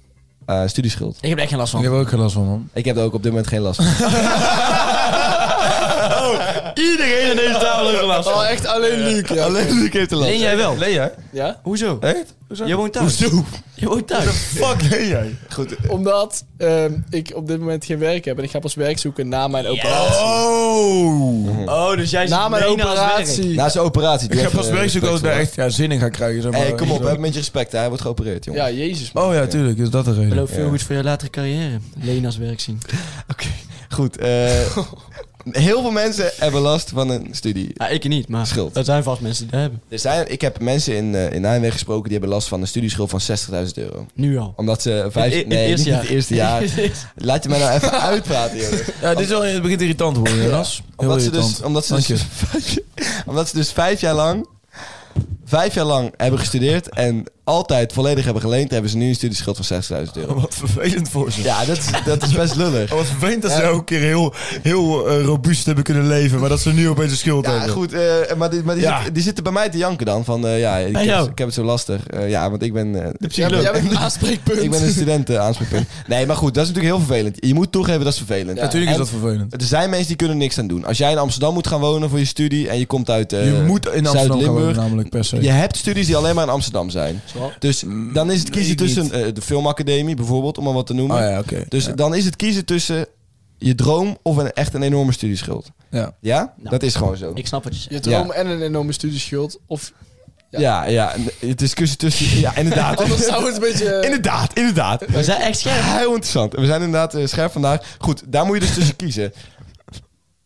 Speaker 2: Eh, studieschuld.
Speaker 4: Ik heb er echt geen last
Speaker 3: Ik
Speaker 4: van.
Speaker 3: heb ook geen last van, man.
Speaker 2: Ik heb er ook op dit moment geen
Speaker 4: (laughs)
Speaker 2: last van.
Speaker 4: Iedereen aan deze tafel heeft er last
Speaker 5: Oh, echt alleen Luc, ja.
Speaker 2: Alleen Luc heeft er last
Speaker 4: Leen jij wel?
Speaker 3: Leen jij? Eh,
Speaker 5: Ja?
Speaker 4: Hoezo?
Speaker 3: Echt?
Speaker 4: Je woont thuis. Hoezo? Je woont (laughs) thuis.
Speaker 3: Fuck, leen jij?
Speaker 2: Goed.
Speaker 5: Omdat ehm, ik op dit moment geen werk heb en ik ga pas werk zoeken na mijn operatie.
Speaker 3: Oh!
Speaker 4: Oh, dus jij zit
Speaker 5: Na mijn
Speaker 4: alleen aan het werk.
Speaker 5: operatie.
Speaker 2: Na zijn operatie. die
Speaker 3: Ik heb
Speaker 2: heeft,
Speaker 3: pas
Speaker 2: eh,
Speaker 3: werk zoeken als ik daar echt ja, zin in ga krijgen. Zeg maar.
Speaker 2: Hey, kom op, heb een beetje respect. hè. Hij wordt geopereerd, jongen.
Speaker 5: Ja, jezus. man.
Speaker 3: Oh ja, tuurlijk. Is dat de
Speaker 4: Ik
Speaker 3: reden?
Speaker 4: beloof veel
Speaker 2: Ja.
Speaker 4: goed voor je latere carrière. Leen als werk zien.
Speaker 2: Goed. eh, heel veel mensen hebben last van een studie.
Speaker 4: Ja, ik niet, maar
Speaker 2: Schild.
Speaker 4: er zijn vast mensen die dat hebben.
Speaker 2: Er zijn, ik heb mensen in, eh, in Nijmegen gesproken die hebben last van een studieschuld van 60.000 euro.
Speaker 4: Nu al.
Speaker 2: Omdat ze vijf...
Speaker 4: In- in- in
Speaker 2: nee,
Speaker 4: het eerste
Speaker 2: niet
Speaker 4: jaar.
Speaker 2: het eerste jaar. Laat je mij nou
Speaker 4: (laughs)
Speaker 2: even uitpraten, jongen.
Speaker 3: Ja, dit is wel, het begint irritant te worden, Jonas. Heel
Speaker 2: Omdat ze,
Speaker 3: irritant.
Speaker 2: dus, omdat, ze (laughs)
Speaker 3: Dank (laughs)
Speaker 2: dus,
Speaker 3: je.
Speaker 2: omdat ze dus vijf jaar lang... Vijf jaar lang hebben gestudeerd en altijd volledig hebben geleend... hebben ze nu een studieschuld van 60.000 euro.
Speaker 3: Oh, Wat vervelend voor ze.
Speaker 2: Ja, dat, is- dat is best lullig.
Speaker 3: Oh, Wat vervelend dat ze elke keer heel, heel eh, robuust hebben kunnen leven, maar dat ze nu opeens een schuld
Speaker 2: (laughs) Ja,
Speaker 3: hebben.
Speaker 2: goed, eh, maar, die, maar die,
Speaker 3: Ja.
Speaker 2: zit- die zitten bij mij te janken dan. Van eh, ja, ik
Speaker 4: Bij
Speaker 2: heb,
Speaker 4: jou?
Speaker 2: ik heb het zo lastig. Eh, ja, want ik ben, eh,
Speaker 5: Jij bent- jij bent een aanspreekpunt.
Speaker 2: ik ben een student eh, aanspreekpunt. Nee, maar goed, dat is natuurlijk heel vervelend. Je moet toegeven, dat is vervelend.
Speaker 5: Ja.
Speaker 3: Natuurlijk is
Speaker 2: En
Speaker 3: dat vervelend.
Speaker 2: Er zijn mensen die kunnen niks aan doen. Als jij in Amsterdam moet gaan wonen voor je studie en je komt uit eh,
Speaker 3: je moet in Amsterdam gaan wonen,
Speaker 2: Zuid-Limburg.
Speaker 3: namelijk per se.
Speaker 2: Je hebt studies die alleen maar in Amsterdam zijn. Dus dan is het kiezen
Speaker 3: weet Mm, ik
Speaker 2: tussen eh, de filmacademie bijvoorbeeld, om maar wat te noemen.
Speaker 3: Oh ja, oké.
Speaker 2: Dus
Speaker 3: ja.
Speaker 2: dan is het kiezen tussen je droom of een, echt een enorme studieschuld.
Speaker 3: Ja.
Speaker 2: Ja?
Speaker 4: Nou.
Speaker 2: dat is gewoon zo.
Speaker 4: Ik snap wat je zegt.
Speaker 5: Je droom en een enorme studieschuld. Of
Speaker 2: Ja, ja, het is kiezen tussen... Ja, inderdaad.
Speaker 5: (laughs) anders zou het een beetje... eh,
Speaker 2: (laughs) inderdaad, inderdaad.
Speaker 4: We zijn echt scherp.
Speaker 2: Heel interessant. We zijn inderdaad eh, scherp vandaag. Goed, daar moet je dus tussen kiezen.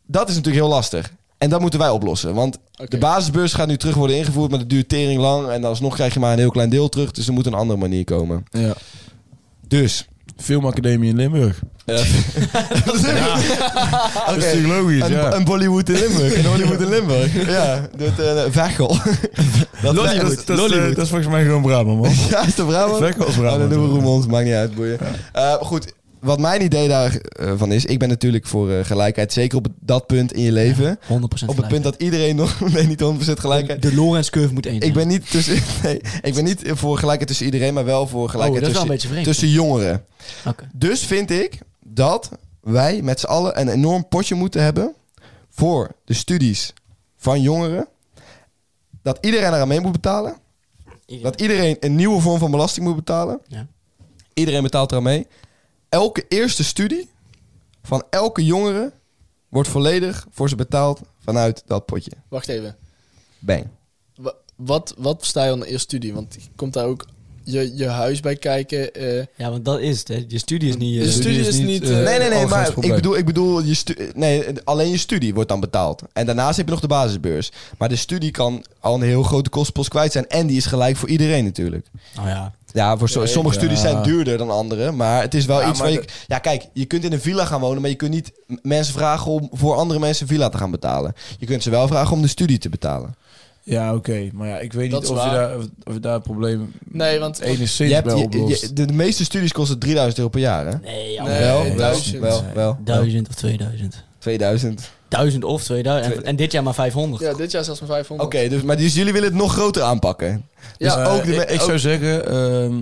Speaker 2: Dat is natuurlijk heel lastig. En dat moeten wij oplossen. Want
Speaker 5: Oké.
Speaker 2: de basisbeurs gaat nu terug worden ingevoerd, maar dat duurt tering lang. En alsnog krijg je maar een heel klein deel terug. Dus er moet een andere manier komen.
Speaker 3: ja. (laughs)
Speaker 2: Dus.
Speaker 3: Filmacademie in Limburg. Dat is natuurlijk logisch,
Speaker 2: Ah, Een,
Speaker 3: ja.
Speaker 2: een Bollywood in Limburg. Een Hollywood in
Speaker 3: (laughs)
Speaker 2: Limburg. Ja, dat eh Vechel. (laughs) Dat
Speaker 3: Dat, is- dat is, eh,
Speaker 4: Lollywood.
Speaker 3: dat is volgens mij gewoon
Speaker 2: (laughs)
Speaker 3: Brabant, man.
Speaker 2: Ja, is dat Brabant?
Speaker 3: Vechel is
Speaker 2: Oh,
Speaker 3: Brabant.
Speaker 2: dan doen we Roermond, maakt niet uit, boeien. Eh, goed, wat mijn idee daarvan is... Ik ben natuurlijk voor eh, gelijkheid, zeker op dat punt in je leven.
Speaker 4: 100%
Speaker 2: op het punt dat iedereen nog... (laughs) Nee, niet 100% gelijkheid.
Speaker 4: De Lorentz curve moet één.
Speaker 2: Ik ben, niet tussen, (laughs) nee, ik ben niet voor gelijkheid tussen iedereen, maar wel voor
Speaker 4: Oh, dat
Speaker 2: gelijkheid
Speaker 4: is wel een
Speaker 2: tussen,
Speaker 4: beetje vreemd.
Speaker 2: tussen jongeren.
Speaker 4: Oké.
Speaker 2: Dus vind ik dat wij met z'n allen een enorm potje moeten hebben voor de studies van jongeren. Dat iedereen eraan mee moet betalen. Dat iedereen een nieuwe vorm van belasting moet betalen.
Speaker 4: Ja.
Speaker 2: Iedereen betaalt eraan mee. Elke eerste studie van elke jongere wordt volledig voor ze betaald vanuit dat potje.
Speaker 5: Wacht even.
Speaker 2: Bang.
Speaker 5: Wa- Wat, wat sta je onder eerste studie? Want komt daar ook je, je huis bij kijken. eh,
Speaker 4: Ja, want dat is het. Hè. Je studie is niet... eh,
Speaker 5: Je
Speaker 4: zo-
Speaker 5: studie is niet, eh,
Speaker 2: Nee, nee, nee, maar ik
Speaker 3: probleem.
Speaker 2: bedoel, ik bedoel je stu- nee, alleen je studie wordt dan betaald. En daarnaast heb je nog de basisbeurs. Maar de studie kan al een heel grote kostenpost kwijt zijn. En die is gelijk voor iedereen natuurlijk.
Speaker 4: Nou ja.
Speaker 2: Ja, voor so-
Speaker 5: Nee,
Speaker 2: sommige
Speaker 3: ja.
Speaker 2: studies zijn duurder dan andere. Maar het is wel
Speaker 3: Ja,
Speaker 2: iets
Speaker 3: maar
Speaker 2: waar je...
Speaker 3: de-
Speaker 2: Ja, kijk, je kunt in een villa gaan wonen... maar je kunt niet m- mensen vragen om voor andere mensen een villa te gaan betalen. Je kunt ze wel vragen om de studie te betalen.
Speaker 3: Ja, oké. Maar ja, ik weet
Speaker 5: Dat
Speaker 3: niet
Speaker 5: is
Speaker 3: of, je
Speaker 5: waar.
Speaker 3: daar, of, of daar een probleem
Speaker 5: nee, want
Speaker 3: enigszins
Speaker 2: Je hebt,
Speaker 3: bij
Speaker 2: je-
Speaker 3: oplost.
Speaker 2: je- de, de meeste studies kosten 3000 euro per jaar, hè?
Speaker 4: Nee,
Speaker 5: Nee,
Speaker 2: wel, wel,
Speaker 5: duizend.
Speaker 2: wel, wel.
Speaker 4: Duizend of 2000.
Speaker 2: 2000.
Speaker 4: 1000 of 2000. En, en dit jaar maar 500.
Speaker 5: ja, dit jaar zelfs maar
Speaker 2: Oké,
Speaker 5: 500.
Speaker 2: dus, maar dus jullie willen het nog groter (laughs) aanpakken.
Speaker 5: Ja,
Speaker 3: Dus, eh,
Speaker 2: ook de me-
Speaker 3: ik, ik zou zeggen, ehm,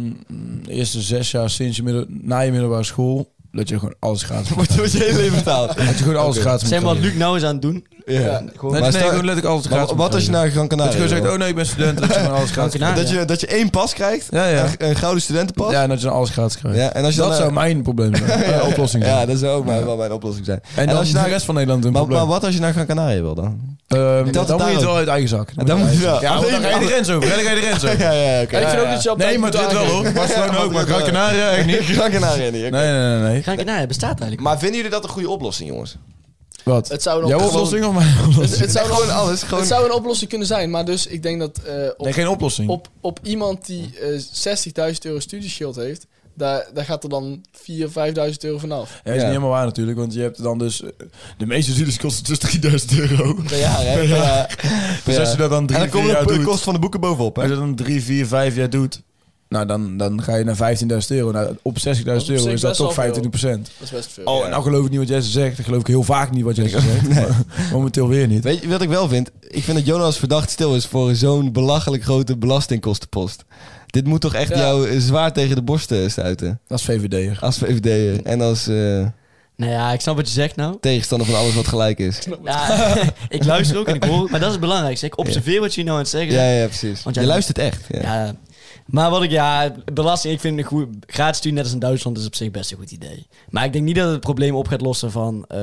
Speaker 3: de eerste zes jaar sinds je middel, na je middelbare school, dat je gewoon alles
Speaker 2: (laughs)
Speaker 3: gratis moet
Speaker 2: Wordt wordt je hele leven betaald.
Speaker 3: Dat je gewoon alles
Speaker 2: Oké.
Speaker 3: gratis moet
Speaker 4: Zeg maar wat
Speaker 3: krijgen.
Speaker 4: Luc nou is aan het doen.
Speaker 2: Ja.
Speaker 3: Nee,
Speaker 2: Maar
Speaker 3: nee,
Speaker 2: stel-
Speaker 3: gewoon letterlijk alles
Speaker 2: Maar
Speaker 3: gratis
Speaker 2: wat
Speaker 3: moet
Speaker 2: als je
Speaker 3: krijgen.
Speaker 2: naar Gran
Speaker 3: Dat
Speaker 2: Canaria
Speaker 3: je gewoon zegt,
Speaker 2: wil?
Speaker 3: oh nee, ik ben student, dat je gewoon alles gratis
Speaker 4: Gran
Speaker 3: krijgt.
Speaker 2: dat, je, dat je één pas krijgt,
Speaker 3: Ja, ja.
Speaker 2: Een, een gouden studentenpas.
Speaker 3: Ja, en dat je dan alles gratis krijgt.
Speaker 2: Ja, en als je
Speaker 3: dat
Speaker 2: dan,
Speaker 3: zou
Speaker 2: eh,
Speaker 3: mijn probleem zijn. Eh, oplossing
Speaker 2: (laughs)
Speaker 3: zijn.
Speaker 2: Ja, dat zou ook maar, wel mijn oplossing zijn.
Speaker 3: en,
Speaker 2: en
Speaker 3: dan
Speaker 2: als je
Speaker 3: is de
Speaker 2: naar-
Speaker 3: rest van Nederland een
Speaker 2: Maar,
Speaker 3: probleem.
Speaker 2: maar wat als je naar Gran Canaria wil dan?
Speaker 3: Ehm,
Speaker 2: dat
Speaker 3: dan moet je het
Speaker 2: daarom.
Speaker 3: wel uit eigen zak.
Speaker 2: dan moet je- ja,
Speaker 3: uit eigen zak. Ja, want dan ga je de grens over. hè, Dan ga je de grens over.
Speaker 2: (laughs) Ja, ja, oké.
Speaker 5: En ik vind
Speaker 3: (laughs) Ja,
Speaker 5: ook dat je op tijd
Speaker 3: Nee, maar
Speaker 5: moet
Speaker 3: dit wel
Speaker 5: aangeven.
Speaker 3: hoor. Barcelona ook, maar Gran Canaria echt niet.
Speaker 2: (laughs) Gran Canaria niet. oké.
Speaker 3: Nee, nee, nee. nee.
Speaker 4: Ga ik naar, het bestaat eigenlijk.
Speaker 2: Maar vinden jullie dat een goede oplossing, jongens?
Speaker 3: Wat?
Speaker 5: Het zou nog
Speaker 3: Jouw
Speaker 5: gewoon-
Speaker 3: oplossing of mijn oplossing?
Speaker 5: (laughs) Het, het zou
Speaker 2: Nee, gewoon
Speaker 5: een-
Speaker 2: alles, gewoon-
Speaker 5: het zou een oplossing kunnen zijn, maar dus ik denk dat eh, op,
Speaker 3: Nee, geen
Speaker 2: Hm.
Speaker 3: oplossing.
Speaker 5: op, op iemand die eh, 60.000 euro studieschild heeft, daar, daar gaat er dan 4.000, 5.000 euro vanaf.
Speaker 3: Ja, is
Speaker 2: Ja.
Speaker 3: niet helemaal waar natuurlijk, want je hebt dan dus... eh, De meeste studies kosten dus (laughs) 3000 euro.
Speaker 2: Per jaar, hè?
Speaker 4: (laughs)
Speaker 3: Dus als je dat dan
Speaker 2: En
Speaker 3: drie,
Speaker 2: dan
Speaker 3: vier
Speaker 2: komen
Speaker 3: jaar
Speaker 2: de, de
Speaker 3: doet...
Speaker 2: kosten van de boeken bovenop,
Speaker 3: Als
Speaker 2: hè?
Speaker 3: je dat dan drie, vier, vijf jaar doet... Nou, dan, dan ga je naar 15.000 euro. Nou, op 60.000
Speaker 5: Dat is op
Speaker 3: euro
Speaker 5: zich
Speaker 3: is dat
Speaker 5: best wel
Speaker 3: toch 25%.
Speaker 5: Dat is best veel.
Speaker 3: Oh, en nou geloof ik niet wat jij zegt. Dat geloof ik heel vaak niet wat jij zegt. maar Momenteel weer niet.
Speaker 2: Weet je wat ik wel vind? Ik vind dat Jonas verdacht stil is voor zo'n belachelijk grote belastingkostenpost. Dit moet toch echt
Speaker 5: Ja.
Speaker 2: jou eh, zwaar tegen de borst eh, stuiten?
Speaker 3: Dat is VVD'er.
Speaker 2: Als VVD'er en als eh,
Speaker 4: Nou ja, ik snap wat je zegt nou.
Speaker 2: tegenstander van alles wat gelijk is.
Speaker 4: Ja,
Speaker 2: (laughs)
Speaker 4: (laughs) ik luister ook en ik hoor. Maar dat is het belangrijkste. Ik observeer wat je nou aan het zeggen
Speaker 2: Ja,
Speaker 4: bent.
Speaker 2: ja, precies.
Speaker 4: Want
Speaker 2: Je
Speaker 4: jij-
Speaker 2: luistert echt. Ja.
Speaker 4: Ja. Maar wat ik, ja, belasting, ik vind een goed, gratis studie net als in Duitsland is op zich best een goed idee. Maar ik denk niet dat het probleem op gaat lossen van eh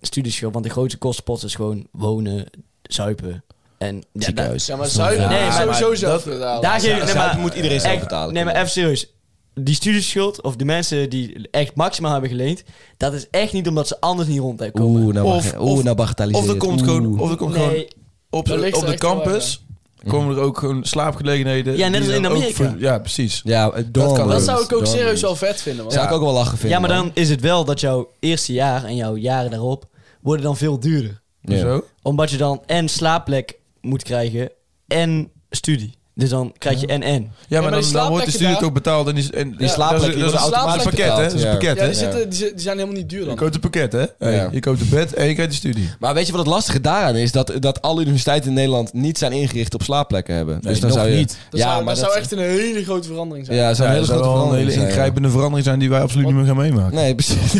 Speaker 4: studieschuld. Want de grootste kostenpot is gewoon wonen, zuipen en ja,
Speaker 2: Ziekenhuis.
Speaker 5: Ja, maar zuiver.
Speaker 4: Nee,
Speaker 5: Nee,
Speaker 4: maar-
Speaker 5: sowieso zelf
Speaker 4: daar-
Speaker 5: betalen.
Speaker 4: Daar geef ik,
Speaker 2: Zuipen
Speaker 4: maar-
Speaker 2: moet iedereen zelf
Speaker 4: echt-
Speaker 2: betalen,
Speaker 4: Nee, maar even
Speaker 2: kunnen.
Speaker 4: serieus. Die studieschuld, of de mensen die echt maximaal hebben geleend, dat is echt niet omdat ze anders niet rond hebben komen.
Speaker 2: Oeh, nou,
Speaker 3: Of-
Speaker 2: of, oeh,
Speaker 3: of-
Speaker 2: nou bagatelliseer
Speaker 3: Of er
Speaker 2: je het.
Speaker 3: komt gewoon...
Speaker 2: Oeh.
Speaker 3: Of er komt
Speaker 4: Nee.
Speaker 3: gewoon op,
Speaker 5: Dat ligt
Speaker 3: op
Speaker 5: er
Speaker 3: de
Speaker 5: echt wel
Speaker 3: campus komen er ook gewoon slaapgelegenheden.
Speaker 4: Ja, net
Speaker 3: die
Speaker 4: als in
Speaker 3: dan ook
Speaker 4: Amerika.
Speaker 3: voor- ja, precies.
Speaker 2: Ja, dat
Speaker 3: kan
Speaker 2: kan
Speaker 3: ook.
Speaker 5: Dat zou ik ook
Speaker 3: Dan-
Speaker 5: serieus wel vet vinden. Man.
Speaker 2: Zou ik ook wel lachen
Speaker 4: Ja,
Speaker 2: vinden.
Speaker 4: maar dan
Speaker 2: man.
Speaker 4: is het wel dat jouw eerste jaar en jouw jaren daarop worden dan veel duurder.
Speaker 2: Ja.
Speaker 3: Zo.
Speaker 4: Omdat je dan en slaapplek moet krijgen en studie. Dus dan krijg je en en.
Speaker 3: Ja,
Speaker 5: maar
Speaker 3: maar
Speaker 5: die
Speaker 3: dan, dan wordt de
Speaker 5: slaapplekken
Speaker 3: studie
Speaker 5: daar-
Speaker 3: ook betaald en die, en die
Speaker 2: slaapplekken, die
Speaker 3: Dat is, dat is
Speaker 5: worden
Speaker 3: automatisch
Speaker 5: automatisch
Speaker 3: pakket, hè? Dat is een
Speaker 2: betaald,
Speaker 3: pakket,
Speaker 5: Ja,
Speaker 3: hè?
Speaker 5: die, zitten, die, zi- die zijn helemaal niet duur
Speaker 3: Je
Speaker 5: dan.
Speaker 3: koopt een pakket, hè? Hey,
Speaker 2: Ja.
Speaker 3: Je koopt een bed en je krijgt de studie.
Speaker 2: Maar weet je wat het lastige daaraan is? Dat, dat alle universiteiten in Nederland niet zijn ingericht op slaapplekken hebben. dus dan
Speaker 3: nog
Speaker 2: zou je,
Speaker 3: niet.
Speaker 5: Dat,
Speaker 2: ja,
Speaker 5: zou,
Speaker 2: maar
Speaker 5: dat zou echt een hele grote verandering zijn.
Speaker 2: Ja, dat zou een
Speaker 3: dat
Speaker 2: hele
Speaker 3: zou
Speaker 2: grote
Speaker 3: wel een
Speaker 2: verandering
Speaker 3: hele
Speaker 2: zijn, ja.
Speaker 3: ingrijpende verandering zijn die wij absoluut niet meer gaan meemaken.
Speaker 2: Nee, (laughs) precies.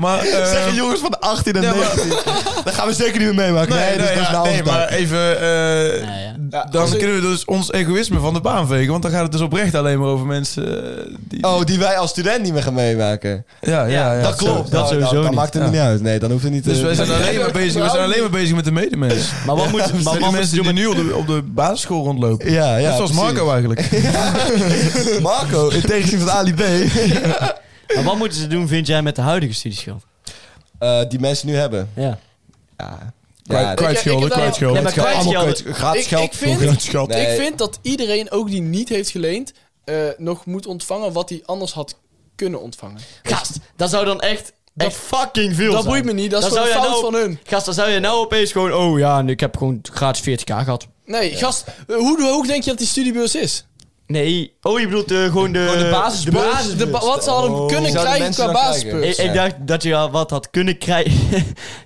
Speaker 3: Maar, eh,
Speaker 2: Zeggen jongens van de 18 en
Speaker 3: nee, maar-
Speaker 2: 19. Dat gaan we zeker niet meer meemaken. Nee,
Speaker 3: nee,
Speaker 2: dat
Speaker 3: nee,
Speaker 2: is
Speaker 3: ja,
Speaker 2: nou
Speaker 3: nee, maar even... eh,
Speaker 4: Nou ja.
Speaker 3: Dan
Speaker 5: als ik-
Speaker 3: kunnen we dus ons egoïsme van de baan vegen. Want dan gaat het dus oprecht alleen maar over mensen eh, die...
Speaker 2: Oh, die wij als student niet meer gaan meemaken.
Speaker 3: ja, ja, ja,
Speaker 4: dat
Speaker 3: zo.
Speaker 4: klopt.
Speaker 2: Nou,
Speaker 4: sowieso
Speaker 2: Dan, dan
Speaker 4: niet.
Speaker 2: maakt het niet uit. Nee, dan hoeft het niet...
Speaker 3: Dus
Speaker 2: eh,
Speaker 3: wij zijn alleen maar bezig, we zijn alleen maar bezig met de medemens.
Speaker 4: Maar wat (laughs) moet, maar
Speaker 3: Met de
Speaker 4: wat moet
Speaker 3: mensen
Speaker 4: je doen
Speaker 3: die
Speaker 4: met...
Speaker 3: nu op de, op de basisschool
Speaker 2: (laughs)
Speaker 3: rondlopen.
Speaker 2: Ja, ja.
Speaker 3: Net zoals
Speaker 2: precies.
Speaker 3: Marco eigenlijk.
Speaker 2: (laughs) Marco, in tegenstelling tot Ali B.
Speaker 3: (laughs)
Speaker 4: Maar wat moeten ze doen, vind jij, met de huidige studieschuld?
Speaker 2: Eh, die mensen nu hebben.
Speaker 4: Ja.
Speaker 2: Ja.
Speaker 3: Kwijt-
Speaker 2: Ja,
Speaker 3: Kwijtschelden,
Speaker 5: ik heb-
Speaker 3: kwijtschelden.
Speaker 4: Nee, maar
Speaker 2: Allemaal
Speaker 4: kwijtschelden-
Speaker 2: kwijt- gratis
Speaker 5: Ik-
Speaker 2: geld.
Speaker 5: ik vind-
Speaker 2: voor-
Speaker 3: Kwijtschelden.
Speaker 2: Nee.
Speaker 5: Ik vind dat iedereen ook die niet heeft geleend, eh, nog moet ontvangen wat hij anders had kunnen ontvangen.
Speaker 4: Gast, dat zou dan echt,
Speaker 5: Dat-
Speaker 4: echt fucking veel
Speaker 5: dat
Speaker 4: zijn.
Speaker 5: boeit me niet, dat is
Speaker 4: Dan
Speaker 5: gewoon
Speaker 4: zou jij
Speaker 5: fout
Speaker 4: nou-
Speaker 5: van hun.
Speaker 4: Gast, dan zou je nou opeens gewoon... Oh ja, en ik heb gewoon gratis 40k gehad.
Speaker 5: Nee, gast, eh, hoe hoog denk je dat die studiebeurs is?
Speaker 4: Nee. Oh, je bedoelt eh, gewoon de...
Speaker 2: Gewoon de basisbeurs.
Speaker 4: De basisbeurs.
Speaker 5: De ba- wat ze hadden
Speaker 4: Oh.
Speaker 5: kunnen
Speaker 2: Zouden
Speaker 5: krijgen
Speaker 2: mensen
Speaker 5: qua
Speaker 2: dan krijgen?
Speaker 5: basisbeurs.
Speaker 4: Ik, ik dacht dat je al wat had kunnen krijgen... (laughs)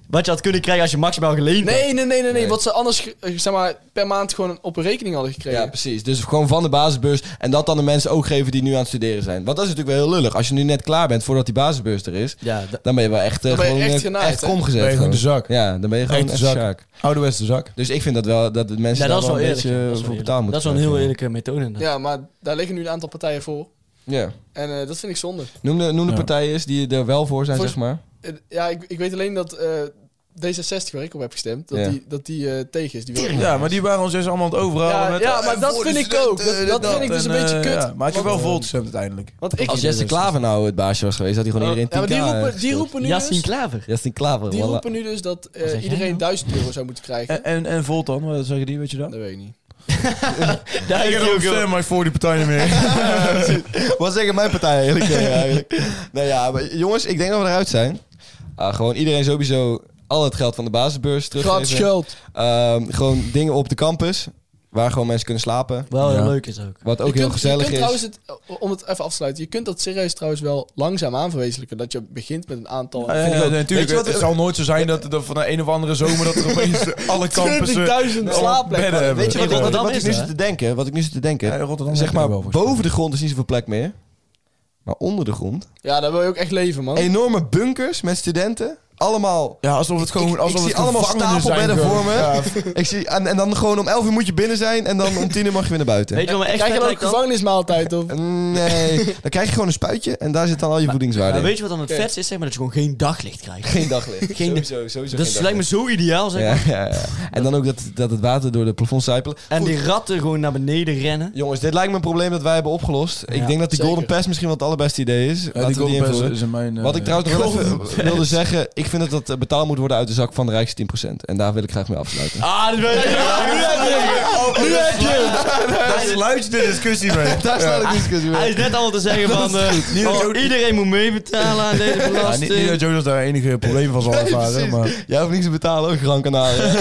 Speaker 4: wat je had kunnen krijgen als je maximaal geleend had.
Speaker 5: Nee, nee, nee, nee, nee.
Speaker 2: Nee.
Speaker 5: Wat ze anders ge- eh, zeg maar, per maand gewoon op een rekening hadden gekregen.
Speaker 2: Ja, precies. Dus gewoon van de basisbeurs. En dat dan de mensen ook geven die nu aan het studeren zijn. Want dat is natuurlijk wel heel lullig. Als je nu net klaar bent voordat die basisbeurs er is.
Speaker 4: Ja, dat-
Speaker 2: Dan ben je wel echt, eh,
Speaker 5: Dan ben je
Speaker 2: gewoon,
Speaker 5: echt
Speaker 2: eh,
Speaker 5: genaaid,
Speaker 2: echt
Speaker 5: hè?
Speaker 2: krom gezet.
Speaker 3: Ben je gewoon de zak.
Speaker 2: Ja, dan ben je gewoon
Speaker 3: Echt de
Speaker 2: echt
Speaker 3: zak.
Speaker 2: zak.
Speaker 3: Ouderwetse zak.
Speaker 2: Dus ik vind dat wel dat de mensen
Speaker 4: Ja, dat
Speaker 2: daar
Speaker 4: is wel
Speaker 2: wel een
Speaker 4: eerlijk. ja.
Speaker 2: beetje eh,
Speaker 4: Dat is
Speaker 2: voor
Speaker 4: wel eerlijk.
Speaker 2: betaald moeten
Speaker 4: Dat is wel een heel
Speaker 2: krijgen.
Speaker 4: eerlijke methode. inderdaad.
Speaker 5: Ja, maar daar liggen nu een aantal partijen voor.
Speaker 2: Ja.
Speaker 5: En eh, dat vind ik zonde.
Speaker 2: Noem de, noem de
Speaker 3: Ja.
Speaker 2: partijen eens die er wel voor zijn,
Speaker 5: Voor-
Speaker 2: zeg maar.
Speaker 5: Eh, ja, ik, ik weet alleen dat eh, D66, waar ik op heb gestemd, dat
Speaker 2: Ja.
Speaker 5: die, dat die eh, tegen is. Die wil-
Speaker 3: Ja, maar die waren ons dus allemaal aan het overhalen.
Speaker 5: Ja,
Speaker 3: met,
Speaker 5: ja,
Speaker 3: eh,
Speaker 5: maar dat
Speaker 3: voor de
Speaker 5: vind ik ook.
Speaker 3: studenten,
Speaker 5: Dat- dat
Speaker 3: dit,
Speaker 5: vind ik dus een
Speaker 3: En,
Speaker 5: beetje
Speaker 3: eh,
Speaker 5: kut.
Speaker 3: ja, maar ik heb wel
Speaker 5: Want-
Speaker 3: vol gestemd uiteindelijk.
Speaker 5: Want ik...
Speaker 2: Als Jesse Klaver nou het baasje was geweest, had hij gewoon iedereen 10k
Speaker 5: ja, maar die roepen, die
Speaker 2: gestuurd.
Speaker 5: roepen nu
Speaker 4: Yassine
Speaker 5: dus...
Speaker 4: Klaver.
Speaker 2: Justin Klaver,
Speaker 5: Die
Speaker 2: voilà.
Speaker 5: roepen nu dus dat eh,
Speaker 4: Wat zeg jij
Speaker 5: iedereen
Speaker 4: nou?
Speaker 5: 1000 euro zou moeten krijgen.
Speaker 3: En, en, en Volt dan, wat zeggen die, weet je dat?
Speaker 5: Dat weet ik niet.
Speaker 4: Daar
Speaker 3: ik
Speaker 4: heeft
Speaker 3: heb
Speaker 4: hij
Speaker 3: ook
Speaker 4: ook wel-
Speaker 3: stem, maar ik voor die partij niet (laughs) meer.
Speaker 2: (laughs) Wat zeggen mijn partij eigenlijk? Ja, eigenlijk. nou ja, maar jongens, ik denk dat we eruit zijn. Ah, gewoon iedereen sowieso al het geld van de basisbeurs
Speaker 5: Gratis
Speaker 2: teruggeven.
Speaker 5: geld.
Speaker 2: Ehm, gewoon dingen op de campus, waar gewoon mensen kunnen slapen.
Speaker 4: Wel
Speaker 3: Ja.
Speaker 4: heel leuk is ook.
Speaker 2: Wat ook
Speaker 5: je
Speaker 2: heel
Speaker 5: kunt,
Speaker 2: gezellig
Speaker 5: je
Speaker 2: is.
Speaker 5: kunt Trouwens het, om het even af te sluiten, je kunt dat serieus trouwens wel langzaam aanverwezenlijken. Dat je begint met een aantal...
Speaker 3: Ja, ja,
Speaker 2: ook.
Speaker 3: nee,
Speaker 2: Weet
Speaker 3: natuurlijk.
Speaker 2: je wat-
Speaker 3: Het zal nooit zo zijn dat, dat van de een of andere zomer dat er opeens
Speaker 5: (laughs)
Speaker 3: alle campussen
Speaker 5: 20.000
Speaker 3: allemaal
Speaker 5: slaapplekken.
Speaker 3: bedden hebben.
Speaker 2: Weet je wat,
Speaker 4: In
Speaker 2: wat,
Speaker 4: Rotterdam
Speaker 2: wat ik
Speaker 4: is
Speaker 2: nu
Speaker 4: er,
Speaker 2: zit
Speaker 4: hè?
Speaker 2: te denken? Wat ik nu zit te denken.
Speaker 3: Ja, in Rotterdam
Speaker 2: zeg
Speaker 3: heb je
Speaker 2: maar,
Speaker 3: er wel voor
Speaker 2: boven de grond is niet zoveel plek meer. Maar onder de grond.
Speaker 5: Ja, daar wil je ook echt leven,
Speaker 4: Oh.
Speaker 5: man.
Speaker 2: Enorme bunkers met studenten. Allemaal.
Speaker 3: Ja, alsof het gewoon...
Speaker 2: Ik- ik
Speaker 3: alsof
Speaker 2: zie
Speaker 3: het
Speaker 2: allemaal
Speaker 3: gevangenen zijn
Speaker 2: stapelbedden
Speaker 3: gewoon.
Speaker 2: voor me.
Speaker 3: Ja,
Speaker 2: (laughs) Ik zie, en, en dan gewoon om 11 uur moet je binnen zijn. En dan om 10 uur mag je weer naar buiten.
Speaker 4: Weet je wat me echt
Speaker 5: Krijg je
Speaker 4: vet
Speaker 5: dan ook
Speaker 4: lijkt dan?
Speaker 5: gevangenismaaltijd of...
Speaker 2: Nee, dan krijg je gewoon een spuitje en daar zit dan al je voedingswaarde
Speaker 4: Maar
Speaker 2: in.
Speaker 4: weet je wat dan het vetst is? Zeg maar dat je gewoon geen daglicht krijgt.
Speaker 2: Geen daglicht.
Speaker 4: Geen-
Speaker 2: sowieso, sowieso
Speaker 4: Dat is- lijkt me zo ideaal, zeg
Speaker 2: ja,
Speaker 4: maar.
Speaker 2: ja, ja. En dan ook dat, dat het water door de plafond zijpelt.
Speaker 4: En
Speaker 2: Goed,
Speaker 4: die ratten gewoon naar beneden rennen.
Speaker 2: Jongens, dit lijkt me een probleem dat wij hebben opgelost. Ik
Speaker 4: Ja,
Speaker 2: denk dat die
Speaker 5: zeker.
Speaker 2: Golden Pass misschien wel het allerbeste idee is.
Speaker 3: Ja, die
Speaker 2: Laten we die
Speaker 3: Golden Pass
Speaker 2: invoeren.
Speaker 3: is in mijn... eh,
Speaker 2: Wat ik
Speaker 3: (laughs)
Speaker 2: trouwens nog wel
Speaker 4: Golden
Speaker 2: even wilde zeggen, ik vind dat dat eh, betaald moet worden uit de zak van de rijkste 10%. En daar wil ik graag mee afsluiten.
Speaker 4: Ah, dat ben
Speaker 3: Daar sluit je de discussie (laughs) mee.
Speaker 2: daar sluit ik discussie
Speaker 4: Hij is net allemaal te zeggen van... eh, oh, iedereen moet meebetalen aan deze
Speaker 3: Ja, niet, niet
Speaker 4: belasting.
Speaker 3: dat Jonas daar enige probleem van zal ervaren, maar...
Speaker 2: Jij hoeft niks te betalen, ook Gran
Speaker 3: (laughs)
Speaker 2: Canaria.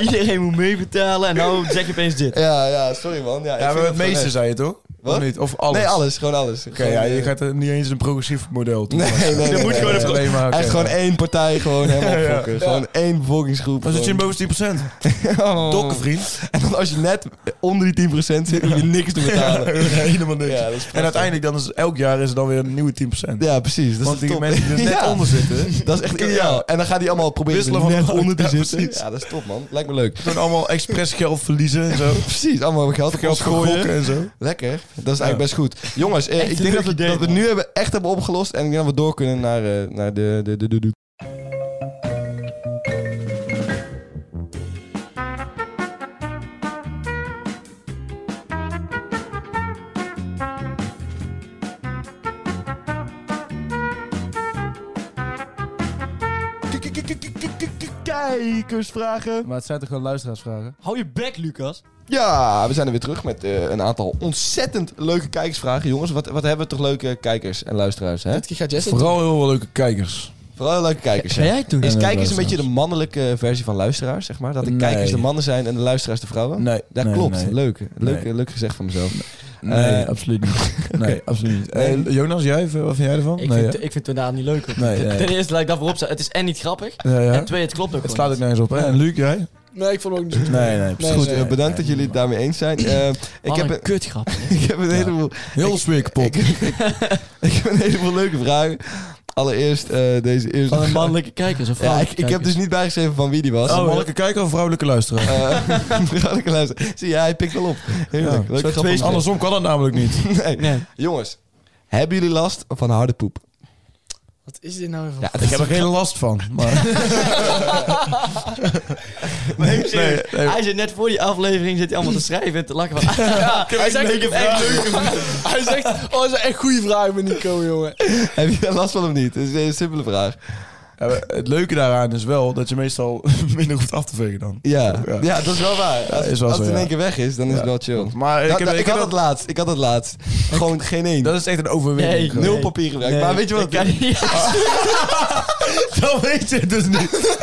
Speaker 4: Iedereen moet meebetalen. En nou zeg je opeens dit.
Speaker 2: ja, ja, sorry man. Ja, ik vind
Speaker 3: Ja, maar het
Speaker 2: dat gewoon
Speaker 3: meeste
Speaker 2: echt.
Speaker 3: zei je toch?
Speaker 2: Wat?
Speaker 3: Of niet? Of alles?
Speaker 2: Nee, alles. Gewoon alles.
Speaker 3: Oké,
Speaker 2: Gewoon,
Speaker 3: ja,
Speaker 2: eh,
Speaker 3: je gaat er niet eens een progressief model
Speaker 2: (laughs)
Speaker 3: toe.
Speaker 2: Nee, nee, nee.
Speaker 4: Er moet
Speaker 2: nee,
Speaker 4: gewoon
Speaker 2: nee.
Speaker 4: een-
Speaker 3: Alleen maar, oké.
Speaker 2: Echt gewoon één partij gewoon helemaal
Speaker 3: (laughs) Ja.
Speaker 2: fokken. Gewoon één bevolkingsgroep.
Speaker 3: (laughs) Dan zit je in
Speaker 2: gewoon.
Speaker 3: boven 10%.
Speaker 2: Oh.
Speaker 3: Dokken, vriend.
Speaker 2: (laughs) En dan als je net onder die 10% zit, hoef je niks
Speaker 3: (laughs)
Speaker 2: te betalen.
Speaker 3: helemaal niks.
Speaker 2: Ja, dat is
Speaker 3: en uiteindelijk, dan is, elk jaar is er dan weer een nieuwe 10%.
Speaker 2: Ja, precies. Dat
Speaker 3: Want
Speaker 2: is
Speaker 3: die
Speaker 2: top.
Speaker 3: mensen die er
Speaker 2: (laughs)
Speaker 3: net
Speaker 2: Ja.
Speaker 3: onder zitten,
Speaker 2: Dat is echt ideaal. En dan gaan die allemaal proberen
Speaker 3: Wisselen
Speaker 2: er
Speaker 3: van
Speaker 2: net
Speaker 3: elkaar.
Speaker 2: onder te
Speaker 3: Ja,
Speaker 2: zitten.
Speaker 3: precies.
Speaker 2: Ja, dat is top, man. Lijkt me leuk.
Speaker 3: gewoon allemaal expres geld verliezen en zo. (laughs)
Speaker 2: Precies, allemaal geld op
Speaker 3: Geld
Speaker 2: ons
Speaker 3: gooien
Speaker 2: gooien.
Speaker 3: en zo.
Speaker 2: Lekker. Dat is eigenlijk best goed. Jongens, eh, ik
Speaker 4: een
Speaker 2: denk
Speaker 4: leuk
Speaker 2: dat we,
Speaker 4: idee,
Speaker 2: dat we
Speaker 4: man.
Speaker 2: nu hebben, echt hebben opgelost. En ik denk dat we door kunnen naar, eh, naar de, de, de, de, de- Kijkersvragen.
Speaker 3: Maar het zijn toch gewoon luisteraarsvragen?
Speaker 4: Hou je bek, Lucas.
Speaker 2: Ja, we zijn er weer terug met eh, een aantal ontzettend leuke kijkersvragen. Jongens, wat, wat hebben we toch leuke kijkers en luisteraars, hè?
Speaker 5: Dit keer gaat Jesse
Speaker 3: Vooral heel veel leuke kijkers.
Speaker 2: Vooral leuke kijkers, ja.
Speaker 4: Ben jij toen?
Speaker 2: Is
Speaker 3: En
Speaker 2: kijkers een
Speaker 3: luisteraars.
Speaker 2: beetje de mannelijke versie van luisteraars, zeg maar? Dat de
Speaker 3: Nee.
Speaker 2: kijkers de mannen zijn en de luisteraars de vrouwen?
Speaker 3: Nee,
Speaker 2: Dat
Speaker 3: nee,
Speaker 2: klopt.
Speaker 3: nee.
Speaker 2: Leuk. Leuk,
Speaker 3: Nee.
Speaker 2: leuk gezegd van mezelf.
Speaker 3: Nee,
Speaker 2: Eh,
Speaker 3: absoluut niet. Nee, absoluut niet.
Speaker 2: Nee.
Speaker 3: Eh, Jonas, jij, wat vind jij ervan?
Speaker 4: Ik
Speaker 3: nee,
Speaker 4: vind,
Speaker 3: ja.
Speaker 4: ik vind Tornado niet leuk. hoor.
Speaker 3: Nee,
Speaker 4: Ten-
Speaker 3: nee.
Speaker 4: Ten eerste, laat ik daarvoor opstaan. Het is en niet grappig.
Speaker 3: Ja, ja.
Speaker 4: En twee, het klopt ook
Speaker 3: Het
Speaker 4: gewoon
Speaker 3: slaat ook
Speaker 4: niet.
Speaker 3: nergens op. hè? En Luc, jij?
Speaker 5: Nee, ik vond hem ook niet zo
Speaker 3: Nee, nee.
Speaker 5: precies.
Speaker 2: Goed,
Speaker 5: nee,
Speaker 2: eh,
Speaker 5: nee,
Speaker 2: bedankt dat jullie het daarmee eens zijn. Eh, ik,
Speaker 4: Wat
Speaker 2: heb
Speaker 4: een
Speaker 2: een,
Speaker 4: kutgrap.
Speaker 2: (laughs) ik heb een heleboel...
Speaker 3: Heel sfeer kapot.
Speaker 2: Ik, ik, ik heb een heleboel leuke vragen. Allereerst eh, deze eerste
Speaker 4: Van een
Speaker 2: vraag.
Speaker 4: mannelijke kijkers of
Speaker 2: Ja, ik,
Speaker 4: vrouwelijke
Speaker 2: ik heb dus
Speaker 4: kijkers?
Speaker 2: niet bijgeschreven van wie die was.
Speaker 3: Is het een
Speaker 4: Oh,
Speaker 3: mannelijke kijker of vrouwelijke luisteraar?
Speaker 2: Eh, (laughs) vrouwelijke luister. Zie je, hij pikt wel op. Heerlijk.
Speaker 3: Ja,
Speaker 2: Leuk
Speaker 4: zo
Speaker 2: grap
Speaker 4: twee-
Speaker 2: van hem.
Speaker 3: Andersom kan dat namelijk niet.
Speaker 2: (laughs) Nee.
Speaker 4: Nee.
Speaker 2: Jongens, hebben jullie last van harde poep?
Speaker 5: Wat is dit nou even?
Speaker 2: Ja,
Speaker 3: Ik heb
Speaker 2: (laughs)
Speaker 3: er geen last van. Maar... nee,
Speaker 2: dus-
Speaker 3: nee, nee.
Speaker 4: Hij zit net voor die aflevering zit hij allemaal te schrijven en te lachen van... (laughs) Ja,
Speaker 5: Hij zegt,
Speaker 4: ik heb echt leuke (laughs)
Speaker 5: hij zegt, oh, dat is een echt goede vraag met Nico, jongen.
Speaker 2: Heb je daar last van of niet? Dat is een simpele vraag.
Speaker 3: Ja, maar het leuke daaraan is wel dat je meestal (laughs) minder hoeft af te vegen dan.
Speaker 2: Ja, ja.
Speaker 3: Ja.
Speaker 2: dat is wel waar. Als,
Speaker 3: is wel
Speaker 2: als het
Speaker 3: zo,
Speaker 2: in
Speaker 3: ja.
Speaker 2: één keer weg is, dan is het wel chill.
Speaker 3: Maar ik,
Speaker 2: Dat-
Speaker 3: heb,
Speaker 2: dat-
Speaker 3: ik heb
Speaker 2: had het
Speaker 3: dat,
Speaker 2: laatst. Ik had het laatst. Gewoon geen één.
Speaker 3: dat is echt een overwinning.
Speaker 4: Nee,
Speaker 3: gewoon.
Speaker 2: Nul
Speaker 4: nee.
Speaker 2: papier gebruikt. Maar weet je wat?
Speaker 4: ik
Speaker 2: het is?
Speaker 3: (laughs)
Speaker 4: kan niet.
Speaker 3: Dat weet je dus niet.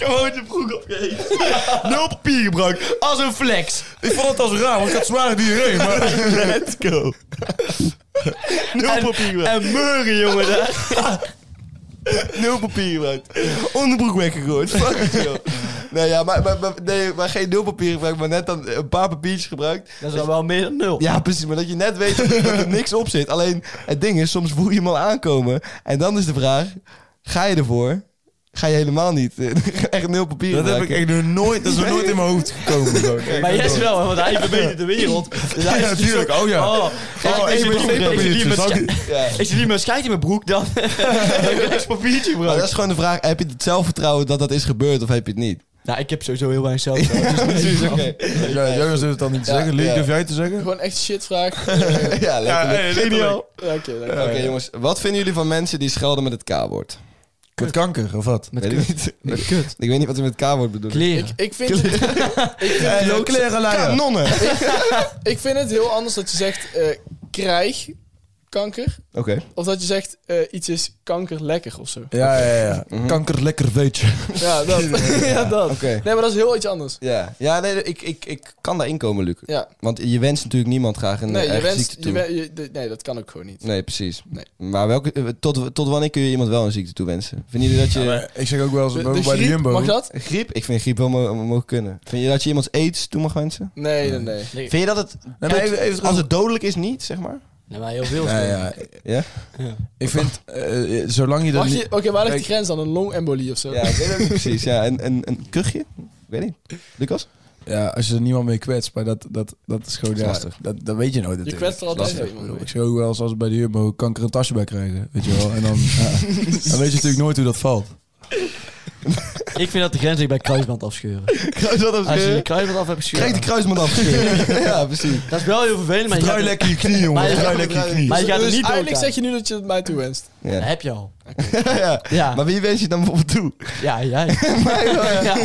Speaker 4: Gewoon de broek opgeven.
Speaker 2: (laughs)
Speaker 4: Nul papier gebruikt. Als een flex.
Speaker 3: Ik vond het als raar, want ik had zware diarree.
Speaker 2: (laughs)
Speaker 3: Maar... Let's go.
Speaker 4: Nul papier gebruikt. En meuren, jongen. Daar.
Speaker 2: Nul papier gebruikt. Onderbroek weggegooid. Fuck it, joh. Nee, ja, maar, maar, maar, nee, maar geen nul papier gebruikt, maar net dan een paar papiertjes gebruikt.
Speaker 4: Dat is wel meer dan nul.
Speaker 2: Ja, precies. Maar dat je net weet dat er niks op zit. Alleen het ding is, soms voel je hem al aankomen. En dan is de vraag: ga je ervoor? ga je helemaal niet. eh, (laughs) echt nul papier
Speaker 3: Dat heb ik echt nog nooit, dat is nog nooit in mijn hoofd gekomen. gewoon.
Speaker 4: Maar jij is wel, want hij verbetert de wereld. Dus hij
Speaker 3: Ja,
Speaker 4: is
Speaker 3: natuurlijk. Oh ja.
Speaker 4: Oh,
Speaker 3: Oh,
Speaker 4: ik
Speaker 3: één
Speaker 4: zit
Speaker 3: met
Speaker 4: hier- ik zit hier
Speaker 3: zeepapiertjes.
Speaker 4: met
Speaker 3: Zal ik-
Speaker 4: sche- ik zit hier met schijt in mijn broek dan. heb ik een extra papiertje
Speaker 2: Maar dat
Speaker 4: gebruikt.
Speaker 2: is gewoon de vraag, heb je het zelfvertrouwen dat dat is gebeurd of heb je het niet?
Speaker 4: Nou, ik heb sowieso heel weinig zelf. dus
Speaker 2: Precies, (laughs) oké.
Speaker 3: Ja, Jonas heeft het dan niet te
Speaker 2: Ja,
Speaker 3: zeggen. Luc,
Speaker 2: ja.
Speaker 3: durf jij het te zeggen?
Speaker 5: Gewoon echt shitvraag.
Speaker 2: ja, letterlijk.
Speaker 3: geniaal.
Speaker 5: Ja, Oké, dank je.
Speaker 2: Oké jongens, wat vinden jullie van mensen die schelden met het K-woord?
Speaker 3: Met kanker, of wat?
Speaker 2: Weet ik
Speaker 3: (laughs)
Speaker 2: niet. (laughs)
Speaker 4: Met kut.
Speaker 2: Ik weet niet wat ze met het K-woord bedoelen.
Speaker 4: Kleren.
Speaker 5: Ik, ik, vind het, ik, vind het
Speaker 3: Hey,
Speaker 5: ook-
Speaker 3: klerenlijn.
Speaker 2: Kanonnen! Oké.
Speaker 5: ik vind het heel anders dat je zegt eh, krijg kanker. Of dat je zegt eh, iets is kanker lekker of zo.
Speaker 3: Ja, ja, ja. Kanker lekker weet je.
Speaker 5: Ja, dat. (laughs) ja, dat.
Speaker 2: Oké.
Speaker 5: Nee, maar dat is heel iets anders.
Speaker 2: Ja, ja nee, ik, ik, ik kan daarin komen, Luc.
Speaker 5: Ja.
Speaker 2: Want je wenst natuurlijk niemand graag een
Speaker 5: Nee,
Speaker 2: nee,
Speaker 5: je wenst,
Speaker 2: ziekte toe.
Speaker 5: je wen- je- de- nee, dat kan ook gewoon niet.
Speaker 2: Nee, precies.
Speaker 5: Nee.
Speaker 2: Maar welke, eh, tot, tot wanneer kun je iemand wel een ziekte toewensen? Vinden jullie dat je...
Speaker 3: (laughs) Ik zeg ook wel eens
Speaker 5: De,
Speaker 3: bij
Speaker 5: de
Speaker 3: de
Speaker 5: griep,
Speaker 3: Jumbo.
Speaker 5: Dus mag dat?
Speaker 2: Griep? Ik vind griep wel mo- mogen kunnen. Vind je dat je iemands aids toe mag wensen?
Speaker 5: Nee, nee, nee.
Speaker 2: Vind je dat het...
Speaker 3: maar even- even
Speaker 2: als het dodelijk is, niet, zeg maar?
Speaker 4: Nee, maar Nou, heel veel.
Speaker 3: Ja, ja.
Speaker 2: Ja?
Speaker 3: Ik vind, eh, eh, zolang je dat
Speaker 5: Mag je-
Speaker 3: niet...
Speaker 5: Oké, waar ligt die
Speaker 3: Ik-
Speaker 5: grens dan? Een longembolie of zo?
Speaker 2: Ja, ik weet het niet precies. Ja, en, en een kuchje? Ik weet niet. (laughs) Lucas?
Speaker 3: Ja, als je er niemand mee kwetst, maar dat, dat, dat is gewoon...
Speaker 2: Dat is
Speaker 3: ja,
Speaker 2: lastig.
Speaker 3: Dat, dat weet je nooit
Speaker 5: Je
Speaker 3: natuurlijk.
Speaker 5: kwetst er altijd wel
Speaker 3: Ik
Speaker 5: iemand
Speaker 3: bedoel,
Speaker 5: mee.
Speaker 3: Ik zeg ook wel eens als bij de Jumbo kanker een tasje bij krijgen, weet je wel. En dan, ja, dan weet je natuurlijk nooit hoe dat valt.
Speaker 4: Ik vind dat de grens ligt bij kruisband afscheuren.
Speaker 2: Kruis dat
Speaker 4: Als je de kruisband af hebt
Speaker 2: Krijg
Speaker 4: gescheuren.
Speaker 2: die kruisman afgescheurd. (laughs) ja, precies.
Speaker 4: Dat is wel heel vervelend, maar je gaat,
Speaker 3: lekker je knie, jongen.
Speaker 4: Maar je-
Speaker 3: Draai lekker je knie.
Speaker 4: maar je gaat er
Speaker 5: dus
Speaker 4: niet door.
Speaker 5: eigenlijk zeg je nu dat je het mij toewenst.
Speaker 4: Dat
Speaker 2: Ja.
Speaker 4: heb je al.
Speaker 2: (laughs) ja.
Speaker 4: Ja,
Speaker 2: Maar wie wens je dan bijvoorbeeld toe?
Speaker 4: ja, jij. ja, ja,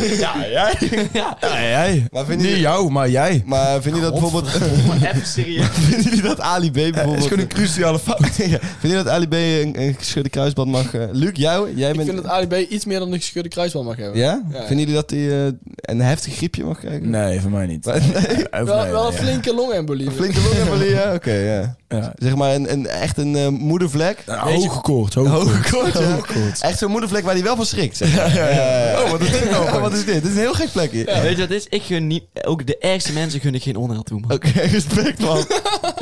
Speaker 4: jij. Ja.
Speaker 3: Ja, jij.
Speaker 2: Maar
Speaker 3: Niet
Speaker 2: vinden jullie,
Speaker 3: jou, maar jij.
Speaker 2: maar vinden jullie dat bijvoorbeeld... (laughs)
Speaker 4: (laughs) Maar even serieus.
Speaker 2: vinden jullie dat Ali B bijvoorbeeld...
Speaker 3: cruciale fout.
Speaker 2: (laughs) Ja. Vind je dat Ali B een, een gescheurde kruisband mag... eh, Luc, jou? Jij
Speaker 5: Ik
Speaker 2: bent...
Speaker 5: vind dat Ali B iets meer dan een gescheurde kruisband mag hebben.
Speaker 2: Ja?
Speaker 5: ja.
Speaker 2: Vinden jullie dat hij eh, een heftig griepje mag krijgen?
Speaker 3: Nee, voor mij niet.
Speaker 2: Maar- nee.
Speaker 3: Eh, voor
Speaker 5: Wel,
Speaker 3: mij,
Speaker 5: wel een
Speaker 3: ja.
Speaker 5: flinke longembolie.
Speaker 2: Een flinke longembolie, (laughs) ja? Oké, ja.
Speaker 3: Ja.
Speaker 2: Zeg maar een, een, echt een eh, moedervlek.
Speaker 3: Een
Speaker 4: Weet
Speaker 2: (laughs)
Speaker 4: je-
Speaker 3: hoge koorts, hoge koorts.
Speaker 2: Hoge koorts, ja.
Speaker 3: Hoge koorts.
Speaker 2: Echt zo'n moedervlek waar hij wel van schrikt. Zeg maar. ja, ja, ja. Oh, wat is (laughs) dit nou? wat is dit? Dit is een heel gek plekje.
Speaker 4: Weet je wat het is? Ik gun niet, ook de ergste mensen gun ik geen onheil toe, man.
Speaker 2: Oké, (laughs) respect man.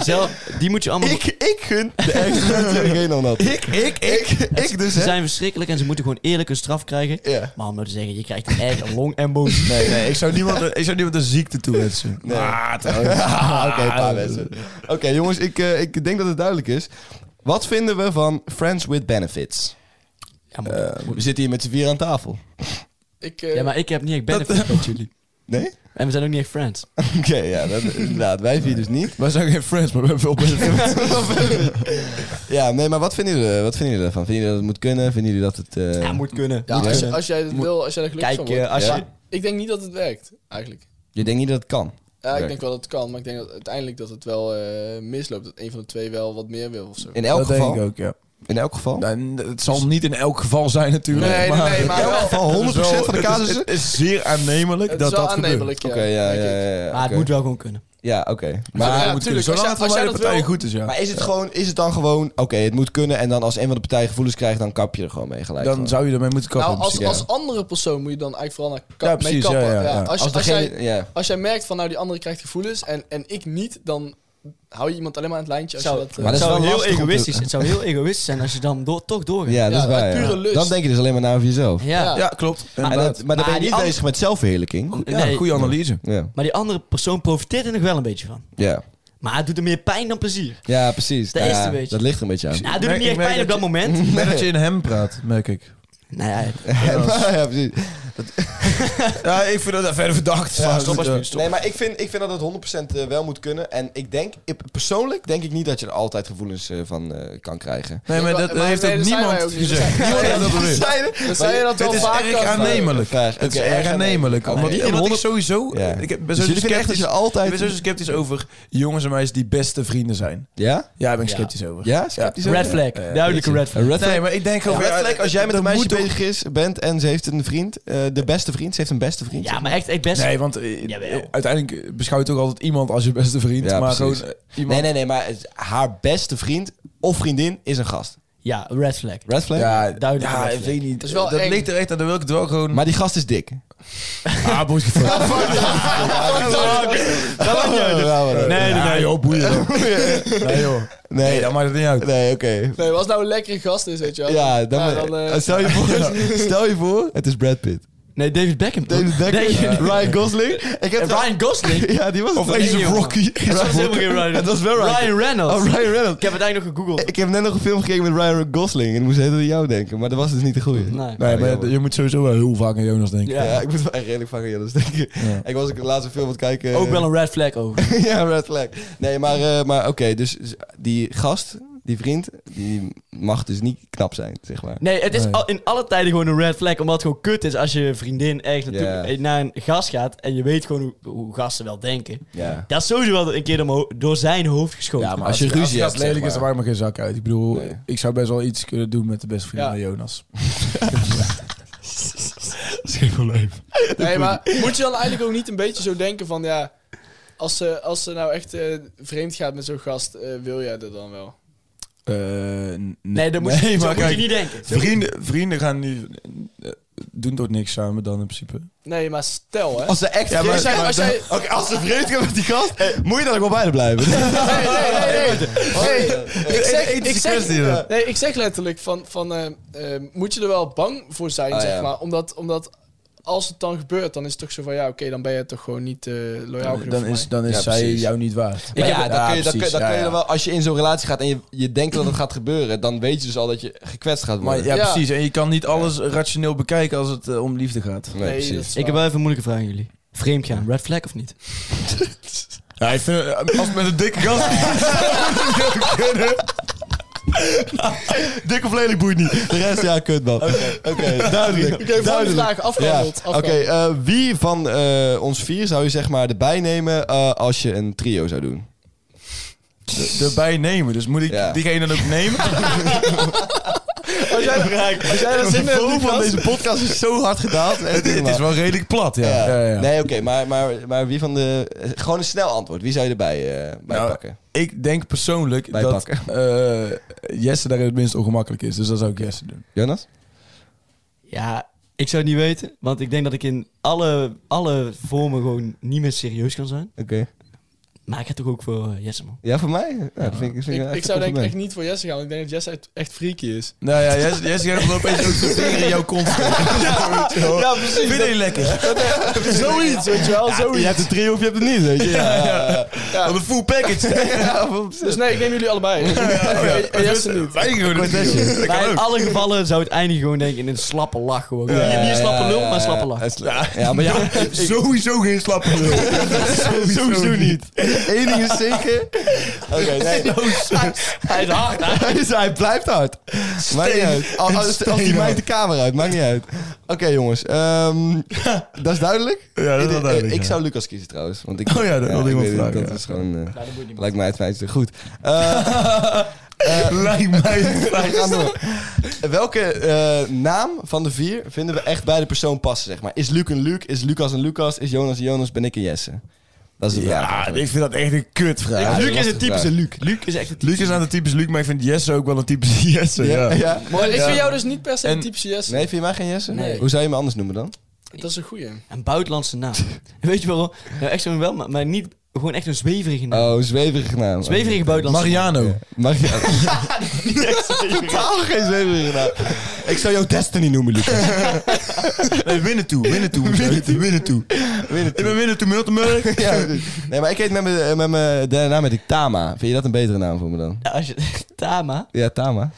Speaker 4: Zelf, die moet je allemaal...
Speaker 2: ik, ik gun de (laughs) ergste mensen die geen onhad. Ik, ik, ik. Ik dus,
Speaker 4: Ze
Speaker 2: hè.
Speaker 4: zijn verschrikkelijk en ze moeten gewoon eerlijk een straf krijgen.
Speaker 2: Ja.
Speaker 4: Maar om nou te zeggen, je krijgt een eigen long embolie.
Speaker 2: (laughs)
Speaker 3: Nee, nee, ik zou niemand, ik zou niemand een ziekte toewensen.
Speaker 2: Nee. (laughs) Ah, Oké, een paar mensen. Oké, jongens, ik, eh, ik denk dat het duidelijk is. Wat vinden we van Friends with Benefits?
Speaker 4: Ja, maar,
Speaker 2: Eh, we zitten hier met z'n vier aan tafel.
Speaker 5: Ik, eh,
Speaker 4: ja, maar ik heb niet echt benefit met jullie.
Speaker 2: Nee? (laughs)
Speaker 4: En we zijn ook niet echt friends.
Speaker 2: Oké, ja, dat, inderdaad. Wij vier dus niet.
Speaker 3: Wij zijn geen friends, maar we hebben wel benefits.
Speaker 2: Ja, nee, maar wat vinden jullie, eh, wat vinden jullie daarvan? Vinden jullie dat het moet kunnen? Vinden jullie dat het... eh,
Speaker 4: moet kunnen.
Speaker 5: ja, als, je- als jij dat wil, als jij er gelukkig
Speaker 4: Kijk,
Speaker 5: van wordt.
Speaker 4: eh, als
Speaker 2: Ja.
Speaker 4: je...
Speaker 5: Ik denk niet dat het werkt, eigenlijk.
Speaker 2: Je denkt niet dat het kan?
Speaker 5: Ja, ik
Speaker 2: Werkt.
Speaker 5: denk wel dat het kan, maar ik denk dat uiteindelijk dat het wel eh, misloopt. Dat een van de twee wel wat meer wil of zo.
Speaker 2: In elk
Speaker 3: Dat
Speaker 2: geval?
Speaker 3: denk ik ook, ja.
Speaker 2: In elk geval?
Speaker 3: Nou, het zal niet in elk geval zijn natuurlijk.
Speaker 5: Nee, nee,
Speaker 3: maar
Speaker 5: nee, maar
Speaker 3: in elk
Speaker 5: wel-
Speaker 3: geval 100% van de
Speaker 2: het is-
Speaker 3: casussen. Het is zeer aannemelijk
Speaker 5: het
Speaker 3: dat
Speaker 5: is wel
Speaker 3: dat gebeurt.
Speaker 5: aannemelijk,
Speaker 2: Oké, ja, ja,
Speaker 5: denk ik.
Speaker 2: ja. ja,
Speaker 4: Maar het
Speaker 2: oké.
Speaker 4: moet wel gewoon kunnen.
Speaker 2: Ja, oké. Maar,
Speaker 3: Maar
Speaker 5: Ja,
Speaker 3: het moet kunnen,
Speaker 5: tuurlijk, als
Speaker 3: zolang
Speaker 5: jij-
Speaker 3: het
Speaker 5: als
Speaker 3: voor
Speaker 5: jij
Speaker 3: beide
Speaker 5: dat
Speaker 3: partijen
Speaker 5: wil-
Speaker 3: goed is, ja.
Speaker 2: maar is, het gewoon, is het dan gewoon, oké, het moet kunnen en dan als een van de partijen gevoelens krijgt, dan kap je er gewoon mee gelijk
Speaker 3: dan
Speaker 2: van.
Speaker 3: zou je ermee moeten kappen.
Speaker 5: Nou, als,
Speaker 3: misschien.
Speaker 5: als andere persoon moet je dan eigenlijk vooral naar ka-
Speaker 3: Ja, precies,
Speaker 5: mee kappen.
Speaker 3: ja, ja, ja.
Speaker 5: Als, je-
Speaker 2: Als
Speaker 5: als,
Speaker 2: degene-
Speaker 5: jij,
Speaker 2: ja.
Speaker 5: als jij merkt van nou die andere krijgt gevoelens en, en ik niet, dan hou je iemand alleen maar aan het lijntje. Als
Speaker 4: Zou-
Speaker 5: je dat, eh,
Speaker 2: Maar
Speaker 4: Het
Speaker 2: dat is
Speaker 4: zou
Speaker 2: wel
Speaker 4: heel
Speaker 2: lastig om te-
Speaker 4: egoïstisch. Het zou heel egoïstisch zijn als je dan door, toch doorgaat.
Speaker 2: ja, dat
Speaker 5: Ja,
Speaker 2: is waar.
Speaker 5: uit
Speaker 2: ja.
Speaker 5: pure lust.
Speaker 2: Dan denk je dus alleen maar naar over jezelf.
Speaker 4: Ja.
Speaker 5: Ja.
Speaker 3: ja, klopt.
Speaker 2: En
Speaker 3: inderdaad.
Speaker 2: dat, maar dan ben je
Speaker 4: Maar
Speaker 2: niet
Speaker 4: die an-
Speaker 2: bezig met zelfverheerlijking.
Speaker 3: ja,
Speaker 4: Nee.
Speaker 3: goede analyse.
Speaker 2: Ja.
Speaker 4: Maar die andere persoon profiteert er nog wel een beetje van.
Speaker 2: Ja.
Speaker 4: Maar het doet er meer pijn dan plezier.
Speaker 2: ja, precies. Nou
Speaker 4: Dat
Speaker 2: Ja,
Speaker 4: is het een beetje.
Speaker 2: Dat ligt er een beetje aan.
Speaker 4: Nou, het doet er
Speaker 3: merk-
Speaker 4: niet echt
Speaker 3: ik merk
Speaker 4: pijn op dat
Speaker 3: dat
Speaker 4: moment.
Speaker 2: (laughs)
Speaker 3: Ik merk dat je in hem praat, merk ik.
Speaker 4: Nou ja, het-
Speaker 2: (laughs) Ja, ja, precies.
Speaker 3: Ja, ik vind dat verder verdacht.
Speaker 2: Ja,
Speaker 3: Maar
Speaker 2: stop
Speaker 3: goed,
Speaker 4: alsjeblieft,
Speaker 3: eh,
Speaker 2: Nee, maar ik vind, ik vind dat het 100% eh, wel moet kunnen. En ik denk, ik- persoonlijk denk ik niet dat je er altijd gevoelens eh, van eh, kan krijgen.
Speaker 3: Nee, maar
Speaker 5: Maar-
Speaker 3: dat
Speaker 5: maar
Speaker 3: heeft
Speaker 5: nee,
Speaker 3: ook
Speaker 5: dat zijn
Speaker 3: niemand
Speaker 5: wij ook niet.
Speaker 3: gezegd. Niemand heeft
Speaker 5: (laughs)
Speaker 3: dat gezegd.
Speaker 5: Dan zei je dat
Speaker 3: Het
Speaker 5: wel
Speaker 3: is
Speaker 5: vaak.
Speaker 3: erg
Speaker 5: als- (laughs)
Speaker 3: aannemelijk.
Speaker 2: Vraag.
Speaker 3: Het is
Speaker 2: Oké,
Speaker 3: erg
Speaker 2: erg
Speaker 3: aannemelijk.
Speaker 2: aannemelijk.
Speaker 3: Omdat
Speaker 2: Oké.
Speaker 3: iemand ik sowieso...
Speaker 2: Ja.
Speaker 3: Ik heb- ben
Speaker 2: Dus
Speaker 3: zo
Speaker 2: jullie vinden echt dat
Speaker 3: sceptisch-
Speaker 2: je altijd-
Speaker 3: Ik ben zo sceptisch over jongens en meisjes die beste vrienden zijn.
Speaker 2: Ja?
Speaker 3: Ja, daar ben ik
Speaker 4: Ja.
Speaker 3: sceptisch over.
Speaker 2: Ja? Sceptisch over?
Speaker 4: red flag.
Speaker 3: eh,
Speaker 4: Duidelijke red flag.
Speaker 2: Een red flag.
Speaker 3: Nee, maar ik denk
Speaker 2: Een
Speaker 3: over...
Speaker 2: red flag als jij met een meisje
Speaker 3: moet toch-
Speaker 2: bezig is, bent en ze heeft een vriend, eh, de beste vriend, ze heeft een beste vriend.
Speaker 4: Ja, maar echt, echt best.
Speaker 3: Nee, want eh,
Speaker 4: Jawel.
Speaker 3: uiteindelijk beschouwt ook altijd iemand als je beste vriend.
Speaker 2: Ja,
Speaker 3: maar
Speaker 2: precies.
Speaker 3: gewoon eh, iemand...
Speaker 2: Nee, nee, nee, maar het- haar beste vriend of vriendin is een gast.
Speaker 4: Ja, red flag.
Speaker 2: Red flag?
Speaker 3: Ja,
Speaker 4: Duidelijk
Speaker 3: ja,
Speaker 4: red
Speaker 3: ik
Speaker 4: flag.
Speaker 3: weet niet.
Speaker 5: is wel
Speaker 3: dat
Speaker 5: eng.
Speaker 3: (laughs) ligt er echt aan. Dan wil ik het wel gewoon...
Speaker 2: Maar die gast is dik.
Speaker 3: Ah, boeit je
Speaker 2: Dat maakt (laughs) niet
Speaker 4: dus-
Speaker 2: uit.
Speaker 3: Nee, nee, joh, boeien. (laughs) Nee, joh. Nee, dat maakt het niet uit.
Speaker 2: Nee, oké.
Speaker 5: Nee, was nou een lekkere gast is, weet je wel.
Speaker 2: Ja, dan,
Speaker 5: Ja, dan, eh,
Speaker 2: stel, je voor, stel je voor, het is Brad Pitt.
Speaker 4: Nee, David Beckham. toch?
Speaker 2: David Beckham,
Speaker 4: Nee,
Speaker 2: Ryan Gosling. Ik heb
Speaker 4: (laughs) Ryan Gosling.
Speaker 2: Ja, die was
Speaker 3: Of
Speaker 2: het.
Speaker 3: Ace
Speaker 4: Nee,
Speaker 3: of
Speaker 4: joh.
Speaker 3: Rocky.
Speaker 4: Dat was helemaal geen Ryan.
Speaker 2: Het was wel Ryan.
Speaker 4: Ryan Reynolds.
Speaker 2: Oh, Ryan Reynolds.
Speaker 4: Ik heb het eigenlijk nog gegoogeld.
Speaker 2: Ik heb net nog een film gekeken met Ryan Gosling. En ik moest heel aan jou denken. Maar dat was dus niet de goede.
Speaker 4: Nee.
Speaker 3: Nee, maar je moet sowieso wel heel vaak aan Jonas denken.
Speaker 4: Ja.
Speaker 2: Ja, ik moet wel echt redelijk van Jonas denken.
Speaker 3: Ja.
Speaker 2: Ik was ook de laatste film aan het kijken.
Speaker 4: Ook wel een red flag over.
Speaker 2: (laughs) ja, red flag. Nee, maar, eh, maar oké. dus die gast, die vriend, die mag dus niet knap zijn, zeg maar.
Speaker 4: Nee, het is
Speaker 3: Nee.
Speaker 4: al- in alle tijden gewoon een red flag. Omdat het gewoon kut is als je vriendin ergens
Speaker 2: Ja.
Speaker 4: naartoe eh, naar een gast gaat. En je weet gewoon hoe, hoe gasten wel denken.
Speaker 2: Ja.
Speaker 4: Dat is sowieso wel een keer door, mijn ho- door zijn hoofd geschoten.
Speaker 2: Ja, maar
Speaker 3: Als je
Speaker 2: als- als
Speaker 3: ruzie hebt,
Speaker 2: het lelijk
Speaker 3: lelijk
Speaker 2: is,
Speaker 3: is,
Speaker 2: dan
Speaker 3: dan maakt me geen zak uit. Ik bedoel,
Speaker 2: Nee.
Speaker 3: ik zou best wel iets kunnen doen met de beste vriend
Speaker 5: Ja.
Speaker 3: van (laughs) Jonas.
Speaker 5: Nee, maar moet je dan eigenlijk ook niet een beetje zo denken van, ja... Als ze, als ze nou echt eh, vreemd gaat met zo'n gast, eh, wil jij dat dan wel?
Speaker 4: Nee, dat moet, je, zo
Speaker 3: Eh, maar
Speaker 4: moet je
Speaker 3: kijk,
Speaker 4: niet denken.
Speaker 3: vrienden, vrienden gaan nu... eh, doen toch niks samen dan in principe?
Speaker 5: Nee, maar stel, hè.
Speaker 2: Als ze echt ja,
Speaker 5: als jij- als jij- Eh.
Speaker 2: als ze vreemd gaan met die gast, moet je dan ook wel bij haar blijven. Oh,
Speaker 5: Nee, nee, nee, nee.
Speaker 2: Hey,
Speaker 5: Ik zeg,
Speaker 2: ethische
Speaker 5: ik zeg,
Speaker 2: kwestie, hè?
Speaker 5: nee, ik zeg letterlijk van, van eh, eh, moet je er wel bang voor zijn,
Speaker 2: Ah,
Speaker 5: zeg
Speaker 2: ja.
Speaker 5: maar. Omdat, omdat als het dan gebeurt, dan is het toch zo van, ja, oké, dan ben je toch gewoon niet eh loyaal genoeg
Speaker 3: Dan
Speaker 5: voor
Speaker 3: is,
Speaker 5: mij.
Speaker 3: dan is
Speaker 2: Ja,
Speaker 3: zij
Speaker 2: precies.
Speaker 3: jou niet waard.
Speaker 2: Maar ja, dan kun je, dan kun,
Speaker 3: precies.
Speaker 2: dan
Speaker 3: Ja,
Speaker 2: kun je
Speaker 3: ja.
Speaker 2: dan wel, als je in zo'n relatie gaat en je, je denkt dat het gaat gebeuren, dan weet je dus al dat je gekwetst gaat
Speaker 3: Maar
Speaker 2: worden.
Speaker 3: ja,
Speaker 5: Ja.
Speaker 3: precies. En je kan niet alles rationeel bekijken als het eh, om liefde gaat.
Speaker 2: nee, precies.
Speaker 5: dat
Speaker 4: Ik
Speaker 5: is
Speaker 4: heb
Speaker 5: waar.
Speaker 4: wel even een moeilijke vraag aan jullie. Vreemd gaan, red flag of niet?
Speaker 3: Ja, ik vind, eh, als het met een dikke gast... (laughs)
Speaker 2: Dik of lelijk boeit niet. De rest, ja, kut man. Oké, (laughs) duidelijk.
Speaker 5: Oké, volgende
Speaker 2: duidelijk.
Speaker 5: vraag,
Speaker 2: Ja,
Speaker 5: afgehandeld.
Speaker 2: oké. eh, wie van eh, ons vier zou je zeg maar erbij nemen eh, als je een trio zou doen?
Speaker 3: erbij nemen. Dus moet ik
Speaker 2: Ja.
Speaker 3: diegene dan ook
Speaker 2: (laughs)
Speaker 3: nemen?
Speaker 2: Als jij, als jij dat zin hebt, van deze podcast is zo hard gedaald.
Speaker 3: het, het is wel redelijk plat, ja.
Speaker 2: Ja.
Speaker 3: Ja, ja.
Speaker 2: Nee, oké, maar, maar, maar wie van de... eh, Gewoon een snel antwoord. Wie zou je erbij eh, bij
Speaker 3: Nou,
Speaker 2: pakken?
Speaker 3: Ik denk persoonlijk
Speaker 2: Bij
Speaker 3: dat
Speaker 2: pakken.
Speaker 3: eh, Jesse daar het minst ongemakkelijk is. Dus dat zou ik Jesse doen.
Speaker 2: Jonas?
Speaker 4: Ja, ik zou het niet weten. Want ik denk dat ik in alle, alle vormen gewoon niet meer serieus kan zijn.
Speaker 2: Oké.
Speaker 4: Maar ik ga toch ook voor eh, Jesse, man.
Speaker 2: Ja, voor mij? Nou, dat vind ik, vind
Speaker 5: Ik,
Speaker 2: echt
Speaker 5: ik zou
Speaker 2: een
Speaker 5: denk ik echt
Speaker 2: compliment.
Speaker 5: niet voor Jesse gaan, want ik denk dat Jesse echt- echt freaky
Speaker 2: (laughs)
Speaker 5: is.
Speaker 3: Nou ja, Jesse, Jesse gaat dan opeens ook zijn vinger in jouw kont (laughs) steken.
Speaker 5: Ja, precies.
Speaker 3: Vind je die lekker?
Speaker 5: Zoiets, weet je wel, zoiets.
Speaker 2: Je hebt een trio of je hebt het niet, weet je. Ja, ja,
Speaker 3: Wat een full package. (laughs)
Speaker 5: Dus nee, ik neem jullie
Speaker 2: (laughs)
Speaker 5: allebei. En- en Jesse niet.
Speaker 3: Wij gewoon een trio. Dat
Speaker 4: Maar
Speaker 3: kan
Speaker 4: in
Speaker 3: ook.
Speaker 4: alle gevallen zou het eindigen gewoon denk ik in een slappe lach gewoon. (laughs) niet, niet een slappe lul, maar een slappe lach.
Speaker 2: Ja, ja,
Speaker 3: (laughs)
Speaker 2: maar ja,
Speaker 3: Sowieso geen slappe (laughs) lul.
Speaker 2: sowieso niet. Eén ding
Speaker 3: (laughs)
Speaker 2: is zeker. Oké, nee.
Speaker 4: Hij is hard, hè?
Speaker 2: Hij, is- hij blijft hard. Maakt niet uit. Al- Als, als hij mij de kamer uit, maakt niet uit. Oké, jongens.
Speaker 3: (laughs)
Speaker 2: ehm, dat is duidelijk?
Speaker 3: Ja, dat is wel
Speaker 2: Ik-
Speaker 3: duidelijk,
Speaker 2: Ik,
Speaker 3: ja.
Speaker 2: zou Lucas kiezen trouwens. Want ik,
Speaker 3: Oh ja, dat wilde
Speaker 2: ik
Speaker 3: iemand
Speaker 2: weet het,
Speaker 3: vragen,
Speaker 2: Dat
Speaker 3: ja.
Speaker 2: is gewoon... eh,
Speaker 4: dat moet niet.
Speaker 2: lijkt mij het fijnste.
Speaker 3: (laughs)
Speaker 2: Goed. Eh,
Speaker 3: Lijkt mij het
Speaker 2: (laughs) we gaan door. Welke eh, naam van de vier vinden we echt bij de persoon passen, zeg maar? Is Luc een Luc? Is Lucas een Lucas? Is Jonas een Jonas? Ben ik een Jesse? Dat is de vraag.
Speaker 3: Ja,
Speaker 2: eigenlijk.
Speaker 3: ik vind dat echt een kutvraag.
Speaker 2: Ja,
Speaker 4: Luc
Speaker 2: dat
Speaker 4: is
Speaker 2: was
Speaker 4: een
Speaker 2: de
Speaker 4: typische
Speaker 2: vraag.
Speaker 4: Luc. Luc is echt een
Speaker 3: Luc is aan de typische Luc, maar ik vind Jesse ook wel een typische Jesse.
Speaker 2: Ja,
Speaker 3: Ja. Oh,
Speaker 2: ja.
Speaker 5: Maar ik
Speaker 2: Ja.
Speaker 5: vind jou dus niet per se een
Speaker 3: En-
Speaker 5: typische Jesse.
Speaker 2: Nee, vind je mij geen Jesse?
Speaker 4: Nee.
Speaker 2: Hoe zou je me anders noemen dan?
Speaker 5: Dat is een goeie.
Speaker 4: Een buitenlandse (laughs) naam. Weet je waarom? Nou, echt zo'n wel, maar, maar niet gewoon echt een zweverige naam.
Speaker 2: Oh, zweverige naam.
Speaker 4: Zweverige buitenlandse
Speaker 3: Mariano.
Speaker 2: Mag je... Totaal geen zweverige naam. Ik zou jou Destiny noemen, Lucas.
Speaker 3: Nee, winnen toe, winnen (laughs) toe. Winnen toe, winnen toe. Ik ben winnen toe, Miltenburg.
Speaker 2: (laughs) ja, precies. nee, maar ik heet met mijn met mijn derde naam heet ik Tama. Vind je dat een betere naam voor me dan?
Speaker 4: naam. Als je, (laughs) Tama.
Speaker 2: Ja, Tama.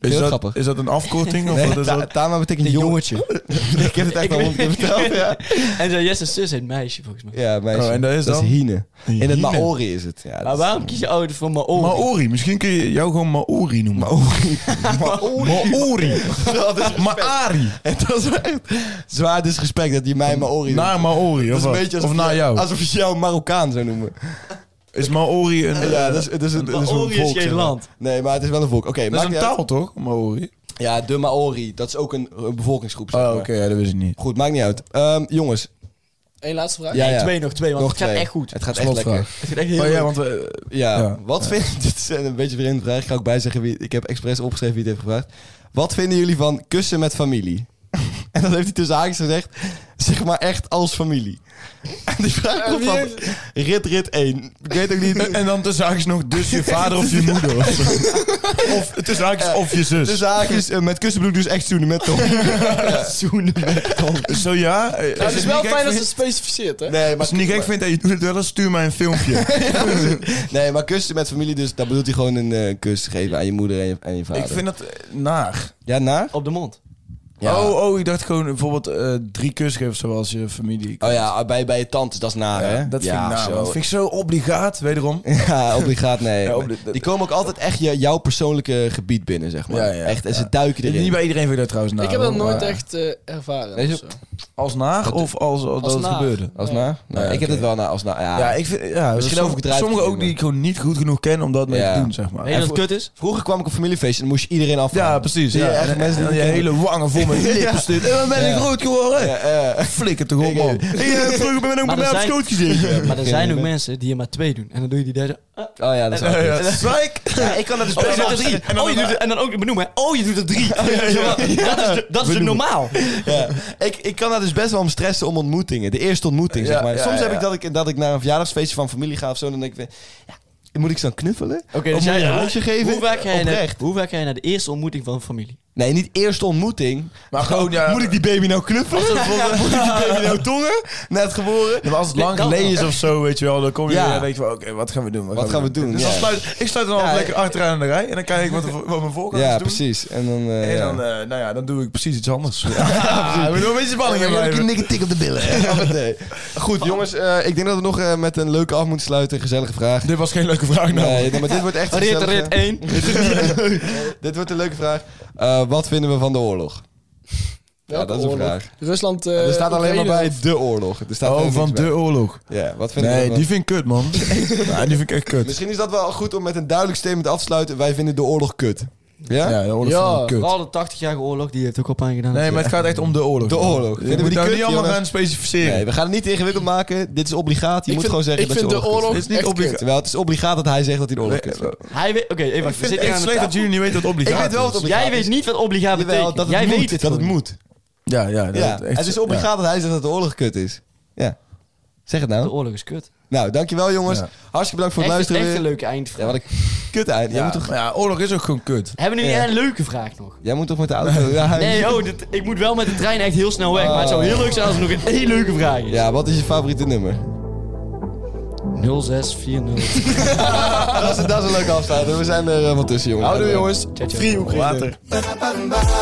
Speaker 2: Heel
Speaker 3: Is dat,
Speaker 2: grappig.
Speaker 3: is dat een afkorting? Of
Speaker 2: Nee,
Speaker 3: wat is
Speaker 2: Ta-
Speaker 3: dat?
Speaker 2: Tama betekent jong-
Speaker 4: jongetje.
Speaker 2: (laughs) ik heb het echt al honderd keer verteld. Ja,
Speaker 4: (laughs) En zijn Jesse's zus heet meisje, volgens mij.
Speaker 2: ja meisje.
Speaker 3: Oh, en dat is dan?
Speaker 2: Hine. In het
Speaker 3: Hine.
Speaker 2: Maori is het. Ja, dat
Speaker 4: Maar
Speaker 2: is-
Speaker 4: waarom kies je ouders voor Maori?
Speaker 3: Maori, misschien kun je jou gewoon Maori noemen. Maori. (laughs) Maori.
Speaker 2: Dat is
Speaker 3: Maari.
Speaker 2: (laughs) Het was echt zwaar disrespect dat je mij Maori noemt.
Speaker 3: Naar Maori.
Speaker 2: dat
Speaker 3: Of,
Speaker 2: is een
Speaker 3: wat?
Speaker 2: beetje
Speaker 3: of
Speaker 2: alsof
Speaker 3: naar
Speaker 2: je-
Speaker 3: jou.
Speaker 2: Alsof je jou Marokkaan zou noemen.
Speaker 3: Is Maori een.
Speaker 2: Ja, dat is, het is een, het is een
Speaker 4: Maori is
Speaker 2: volk.
Speaker 4: geen
Speaker 2: zeg maar.
Speaker 4: land.
Speaker 2: Nee, maar het is wel een volk. Oké,
Speaker 3: dat
Speaker 2: maakt
Speaker 3: is een
Speaker 2: niet uit.
Speaker 3: taal toch? Maori.
Speaker 2: Ja, de Maori. Dat is ook een, een bevolkingsgroep. Zeg
Speaker 3: Oh,
Speaker 2: maar.
Speaker 3: oké, ja, dat wist ik niet.
Speaker 2: Goed, maakt niet uit. Ehm, jongens.
Speaker 5: Eén laatste vraag.
Speaker 2: Ja, ja.
Speaker 4: Twee nog twee, want
Speaker 2: Nog
Speaker 4: het gaat
Speaker 2: twee.
Speaker 4: echt goed.
Speaker 2: Het gaat echt lekker. Eh,
Speaker 3: Slotvraag.
Speaker 4: Het gaat echt heel
Speaker 3: Oh ja,
Speaker 4: goed.
Speaker 3: want we.
Speaker 2: Ja,
Speaker 3: Ja.
Speaker 2: wat vind (laughs) Dit is een beetje een vreemde vraag. Ik ga ook bij zeggen wie... Ik heb expres opgeschreven wie het (laughs) heeft gevraagd. Wat vinden jullie van kussen met familie? en dat heeft hij tussen haakjes gezegd. zeg maar echt als familie. (laughs) En die vraag
Speaker 5: En
Speaker 2: komt
Speaker 5: wie
Speaker 2: van rit, rit 1. Ik weet ook niet.
Speaker 3: eh, En dan tussen haakjes nog dus je
Speaker 2: (laughs)
Speaker 3: vader of je moeder. Of, zo. of tussen haakjes of je zus.
Speaker 2: De zaakjes eh, met kussen bedoel ik dus echt zoenen met Tom.
Speaker 4: Zoenen met Tom.
Speaker 3: Zo ja. eh,
Speaker 5: Nou,
Speaker 3: als
Speaker 5: het is
Speaker 3: je
Speaker 5: wel
Speaker 3: het niet gek
Speaker 5: fijn dat
Speaker 3: vindt-
Speaker 5: ze het specificeert, hè?
Speaker 2: Nee,
Speaker 3: Als je het niet gek vindt en je doet het wel eens, stuur mij een
Speaker 2: (laughs)
Speaker 3: filmpje.
Speaker 2: nee, maar kussen met familie, dus daar bedoelt hij gewoon een eh, kus geven aan je moeder en je, en je vader.
Speaker 3: ik vind dat eh, naar.
Speaker 2: Ja, naar?
Speaker 4: Op de mond.
Speaker 2: Ja.
Speaker 3: Oh, oh, ik dacht gewoon bijvoorbeeld eh, drie kussen geven zoals je familie.
Speaker 2: Oh ja, bij, bij je tante, dat is naar,
Speaker 3: Ja,
Speaker 2: hè?
Speaker 3: dat vind
Speaker 2: ja,
Speaker 3: ik naar.
Speaker 2: zo.
Speaker 3: man. Dat vind ik zo obligaat,
Speaker 2: (laughs)
Speaker 3: wederom.
Speaker 2: Ja, obligaat, nee.
Speaker 3: (laughs) Ja, obli-
Speaker 2: die komen ook altijd echt je, jouw persoonlijke gebied binnen, zeg maar.
Speaker 3: Ja, ja,
Speaker 2: echt, en ze
Speaker 3: ja.
Speaker 2: duiken erin.
Speaker 3: Niet bij iedereen vind ik dat trouwens naar.
Speaker 2: Nou,
Speaker 5: ik heb dat
Speaker 3: hoor,
Speaker 5: nooit
Speaker 3: maar-
Speaker 5: echt eh, ervaren.
Speaker 2: Deze-
Speaker 5: of zo.
Speaker 3: Als naar of als, als, dat het
Speaker 4: naar.
Speaker 3: gebeurde?
Speaker 2: Als naar? Nee,
Speaker 3: Ja,
Speaker 2: Nou ik heb
Speaker 3: oké.
Speaker 2: het wel naar als naar. Ja.
Speaker 3: Ja, ik vind, ja,
Speaker 2: Misschien
Speaker 3: sommige-
Speaker 2: overdrijf ik
Speaker 3: Sommige
Speaker 2: het
Speaker 3: ook
Speaker 2: niet,
Speaker 3: die ik gewoon niet goed genoeg ken om dat mee
Speaker 2: Ja.
Speaker 3: te doen, zeg maar.
Speaker 4: Weet je dat het kut is?
Speaker 2: Vroeger kwam ik op familiefeest en dan moest je iedereen af.
Speaker 3: Ja, precies. Ja.
Speaker 2: echt
Speaker 3: En-
Speaker 2: mensen die
Speaker 3: en je
Speaker 2: ik ken.
Speaker 3: hele wangen
Speaker 2: (laughs)
Speaker 3: vol met lippen zit. En dan ben ik
Speaker 2: Ja.
Speaker 3: groot geworden.
Speaker 2: eh,
Speaker 3: Flikker toch op,
Speaker 2: Ik- (laughs)
Speaker 3: man. Ik heb vroeger ben ik ook bij
Speaker 4: Maar
Speaker 3: mij
Speaker 4: er
Speaker 3: op
Speaker 4: zijn-
Speaker 3: schoot gezeten.
Speaker 4: Maar er zijn ook
Speaker 2: idee.
Speaker 4: mensen die er maar twee doen. En dan doe je die derde.
Speaker 2: Oh ja,
Speaker 3: (laughs)
Speaker 2: dat is wel kut.
Speaker 3: Strijk!
Speaker 2: (laughs) Ja, ik kan dat dus
Speaker 4: Oh, je
Speaker 2: best
Speaker 4: doet
Speaker 2: wel
Speaker 4: er drie. Oh, je doet er- en dan ook benoemen. hè. Oh, je doet er (laughs) drie. Dat is de- Dat is de normaal.
Speaker 2: Ja. Ik, ik kan daar dus best wel om stressen om ontmoetingen. De eerste ontmoeting,
Speaker 3: Ja,
Speaker 2: zeg maar.
Speaker 3: ja,
Speaker 2: Soms
Speaker 3: ja.
Speaker 2: heb ik dat, ik dat ik naar een verjaardagsfeestje van familie ga of zo. En dan denk ik, weer, ja, moet ik ze dan knuffelen?
Speaker 4: Oké,
Speaker 2: Of
Speaker 4: dus
Speaker 2: moet
Speaker 4: jij
Speaker 2: je een handje geven?
Speaker 4: Hoe vaak, ga je naar,
Speaker 2: Oprecht.
Speaker 4: hoe vaak ga je naar de eerste ontmoeting van een familie?
Speaker 2: Nee, niet eerste ontmoeting.
Speaker 3: Maar gewoon, ja.
Speaker 2: Moet ik die baby nou knuffelen? (laughs) Moet ik die baby nou
Speaker 3: (laughs)
Speaker 2: tongen? Net geboren?
Speaker 3: Maar als het lang
Speaker 4: kan
Speaker 3: geleden is of zo, weet je wel, dan kom je
Speaker 2: Ja.
Speaker 3: weer en denk je van, oké, wat gaan we doen?
Speaker 2: Wat gaan we doen?
Speaker 3: Dus dan
Speaker 2: Ja.
Speaker 3: sluit, ik sluit dan altijd
Speaker 2: Ja,
Speaker 3: lekker achteraan in de rij en dan kijk ik wat, de- wat mijn voorkanters
Speaker 2: Ja,
Speaker 3: doen.
Speaker 2: precies. En dan... eh,
Speaker 3: En
Speaker 2: ja.
Speaker 3: dan, eh, nou ja, dan doe ik precies iets anders. Ja, (laughs)
Speaker 2: (laughs)
Speaker 3: we doen een beetje spanning
Speaker 2: Dan heb
Speaker 3: in
Speaker 2: ik
Speaker 3: blijven.
Speaker 2: een dikke tik op de
Speaker 3: (laughs)
Speaker 2: billen. Nee. Goed, jongens. eh, ik denk dat we nog eh, met een leuke af moeten sluiten. Gezellige vraag.
Speaker 3: Dit was geen leuke vraag, (laughs) nou.
Speaker 2: Nee, nee, maar dit wordt echt een
Speaker 4: Rit,
Speaker 2: gezellige-
Speaker 4: rit 1.
Speaker 2: Dit wordt een leuke vraag. Eh, wat vinden we van de oorlog? Ja,
Speaker 5: Welke
Speaker 2: dat is een
Speaker 5: oorlog?
Speaker 2: vraag.
Speaker 5: Rusland. eh,
Speaker 2: er staat alleen maar bij
Speaker 5: Oekraïne.
Speaker 2: de oorlog. Er staat
Speaker 3: Oh,
Speaker 2: verder
Speaker 3: van
Speaker 2: niks bij.
Speaker 3: de oorlog.
Speaker 2: Ja, wat vinden
Speaker 3: Nee,
Speaker 2: we van...
Speaker 3: die vind ik kut, man. (laughs) Ja, die vind ik echt kut.
Speaker 2: Misschien is dat wel goed om met een duidelijk statement af te sluiten. Wij vinden de oorlog kut. Ja?
Speaker 3: Ja, de oorlog
Speaker 5: Ja,
Speaker 3: vind ik kut.
Speaker 4: Vooral de 80-jarige oorlog, die heeft ook op aangedaan.
Speaker 3: Nee, maar het gaat echt om de oorlog.
Speaker 2: De
Speaker 3: man.
Speaker 2: oorlog.
Speaker 3: Je
Speaker 2: Vinden we
Speaker 3: moet
Speaker 2: die
Speaker 3: daar
Speaker 2: kut,
Speaker 3: niet allemaal
Speaker 2: jongens?
Speaker 3: gaan specificeren.
Speaker 2: Nee, we gaan het niet te ingewikkeld maken. Dit is obligaat. Je moet
Speaker 5: Ik vind-
Speaker 2: gewoon zeggen
Speaker 5: ik
Speaker 2: dat
Speaker 5: vind
Speaker 2: je
Speaker 5: de oorlog
Speaker 2: kut
Speaker 5: Het is niet echt obligaat.
Speaker 2: vindt.
Speaker 5: kut.
Speaker 2: Terwijl het is obligaat dat hij zegt dat hij de oorlog kut vindt.
Speaker 4: Hij weet... Oké, even
Speaker 3: ik
Speaker 4: wacht. We
Speaker 3: vind het
Speaker 4: zitten
Speaker 3: echt
Speaker 4: hier aan de
Speaker 3: slecht dat
Speaker 4: tafel.
Speaker 3: jullie niet weten wat obligaat
Speaker 2: Ik weet wel
Speaker 3: is.
Speaker 2: wat obligaat
Speaker 4: Jij weet niet wat obligaat
Speaker 2: Jawel,
Speaker 4: betekent.
Speaker 2: dat het
Speaker 4: Jij
Speaker 2: moet.
Speaker 4: weet het
Speaker 2: dat het
Speaker 4: gewoon.
Speaker 2: moet.
Speaker 3: Ja, ja. dat
Speaker 2: Ja,
Speaker 3: echt-
Speaker 2: het is
Speaker 3: ja.
Speaker 2: obligaat dat hij zegt dat de oorlog kut is. Ja. Zeg het
Speaker 4: De
Speaker 2: nou.
Speaker 4: oorlog is kut.
Speaker 2: Nou, dankjewel jongens.
Speaker 3: Ja.
Speaker 2: Hartstikke bedankt voor het
Speaker 4: Echt,
Speaker 2: luisteren
Speaker 4: echt een
Speaker 2: weer.
Speaker 4: leuke eindvraag.
Speaker 2: Ja, wat een kut eind. Jij,
Speaker 3: Ja,
Speaker 2: moet toch,
Speaker 3: maar ja, oorlog is ook gewoon kut.
Speaker 4: Hebben we nu
Speaker 2: Ja.
Speaker 4: een leuke vraag nog?
Speaker 2: jij moet toch met de auto (laughs) naar huis?
Speaker 4: Nee, oh, dit- ik moet wel met de trein echt heel snel weg. Maar het zou heel leuk zijn als er nog een één leuke vraag is.
Speaker 2: Ja, wat is je favoriete nummer?
Speaker 4: 0640.
Speaker 2: dat, is, dat is een leuke afsluiting. We zijn er eh, wel tussen jongens.
Speaker 5: Houdoe, jongens.
Speaker 4: Ciao, ciao.
Speaker 5: Free Oekraïne.
Speaker 3: Later.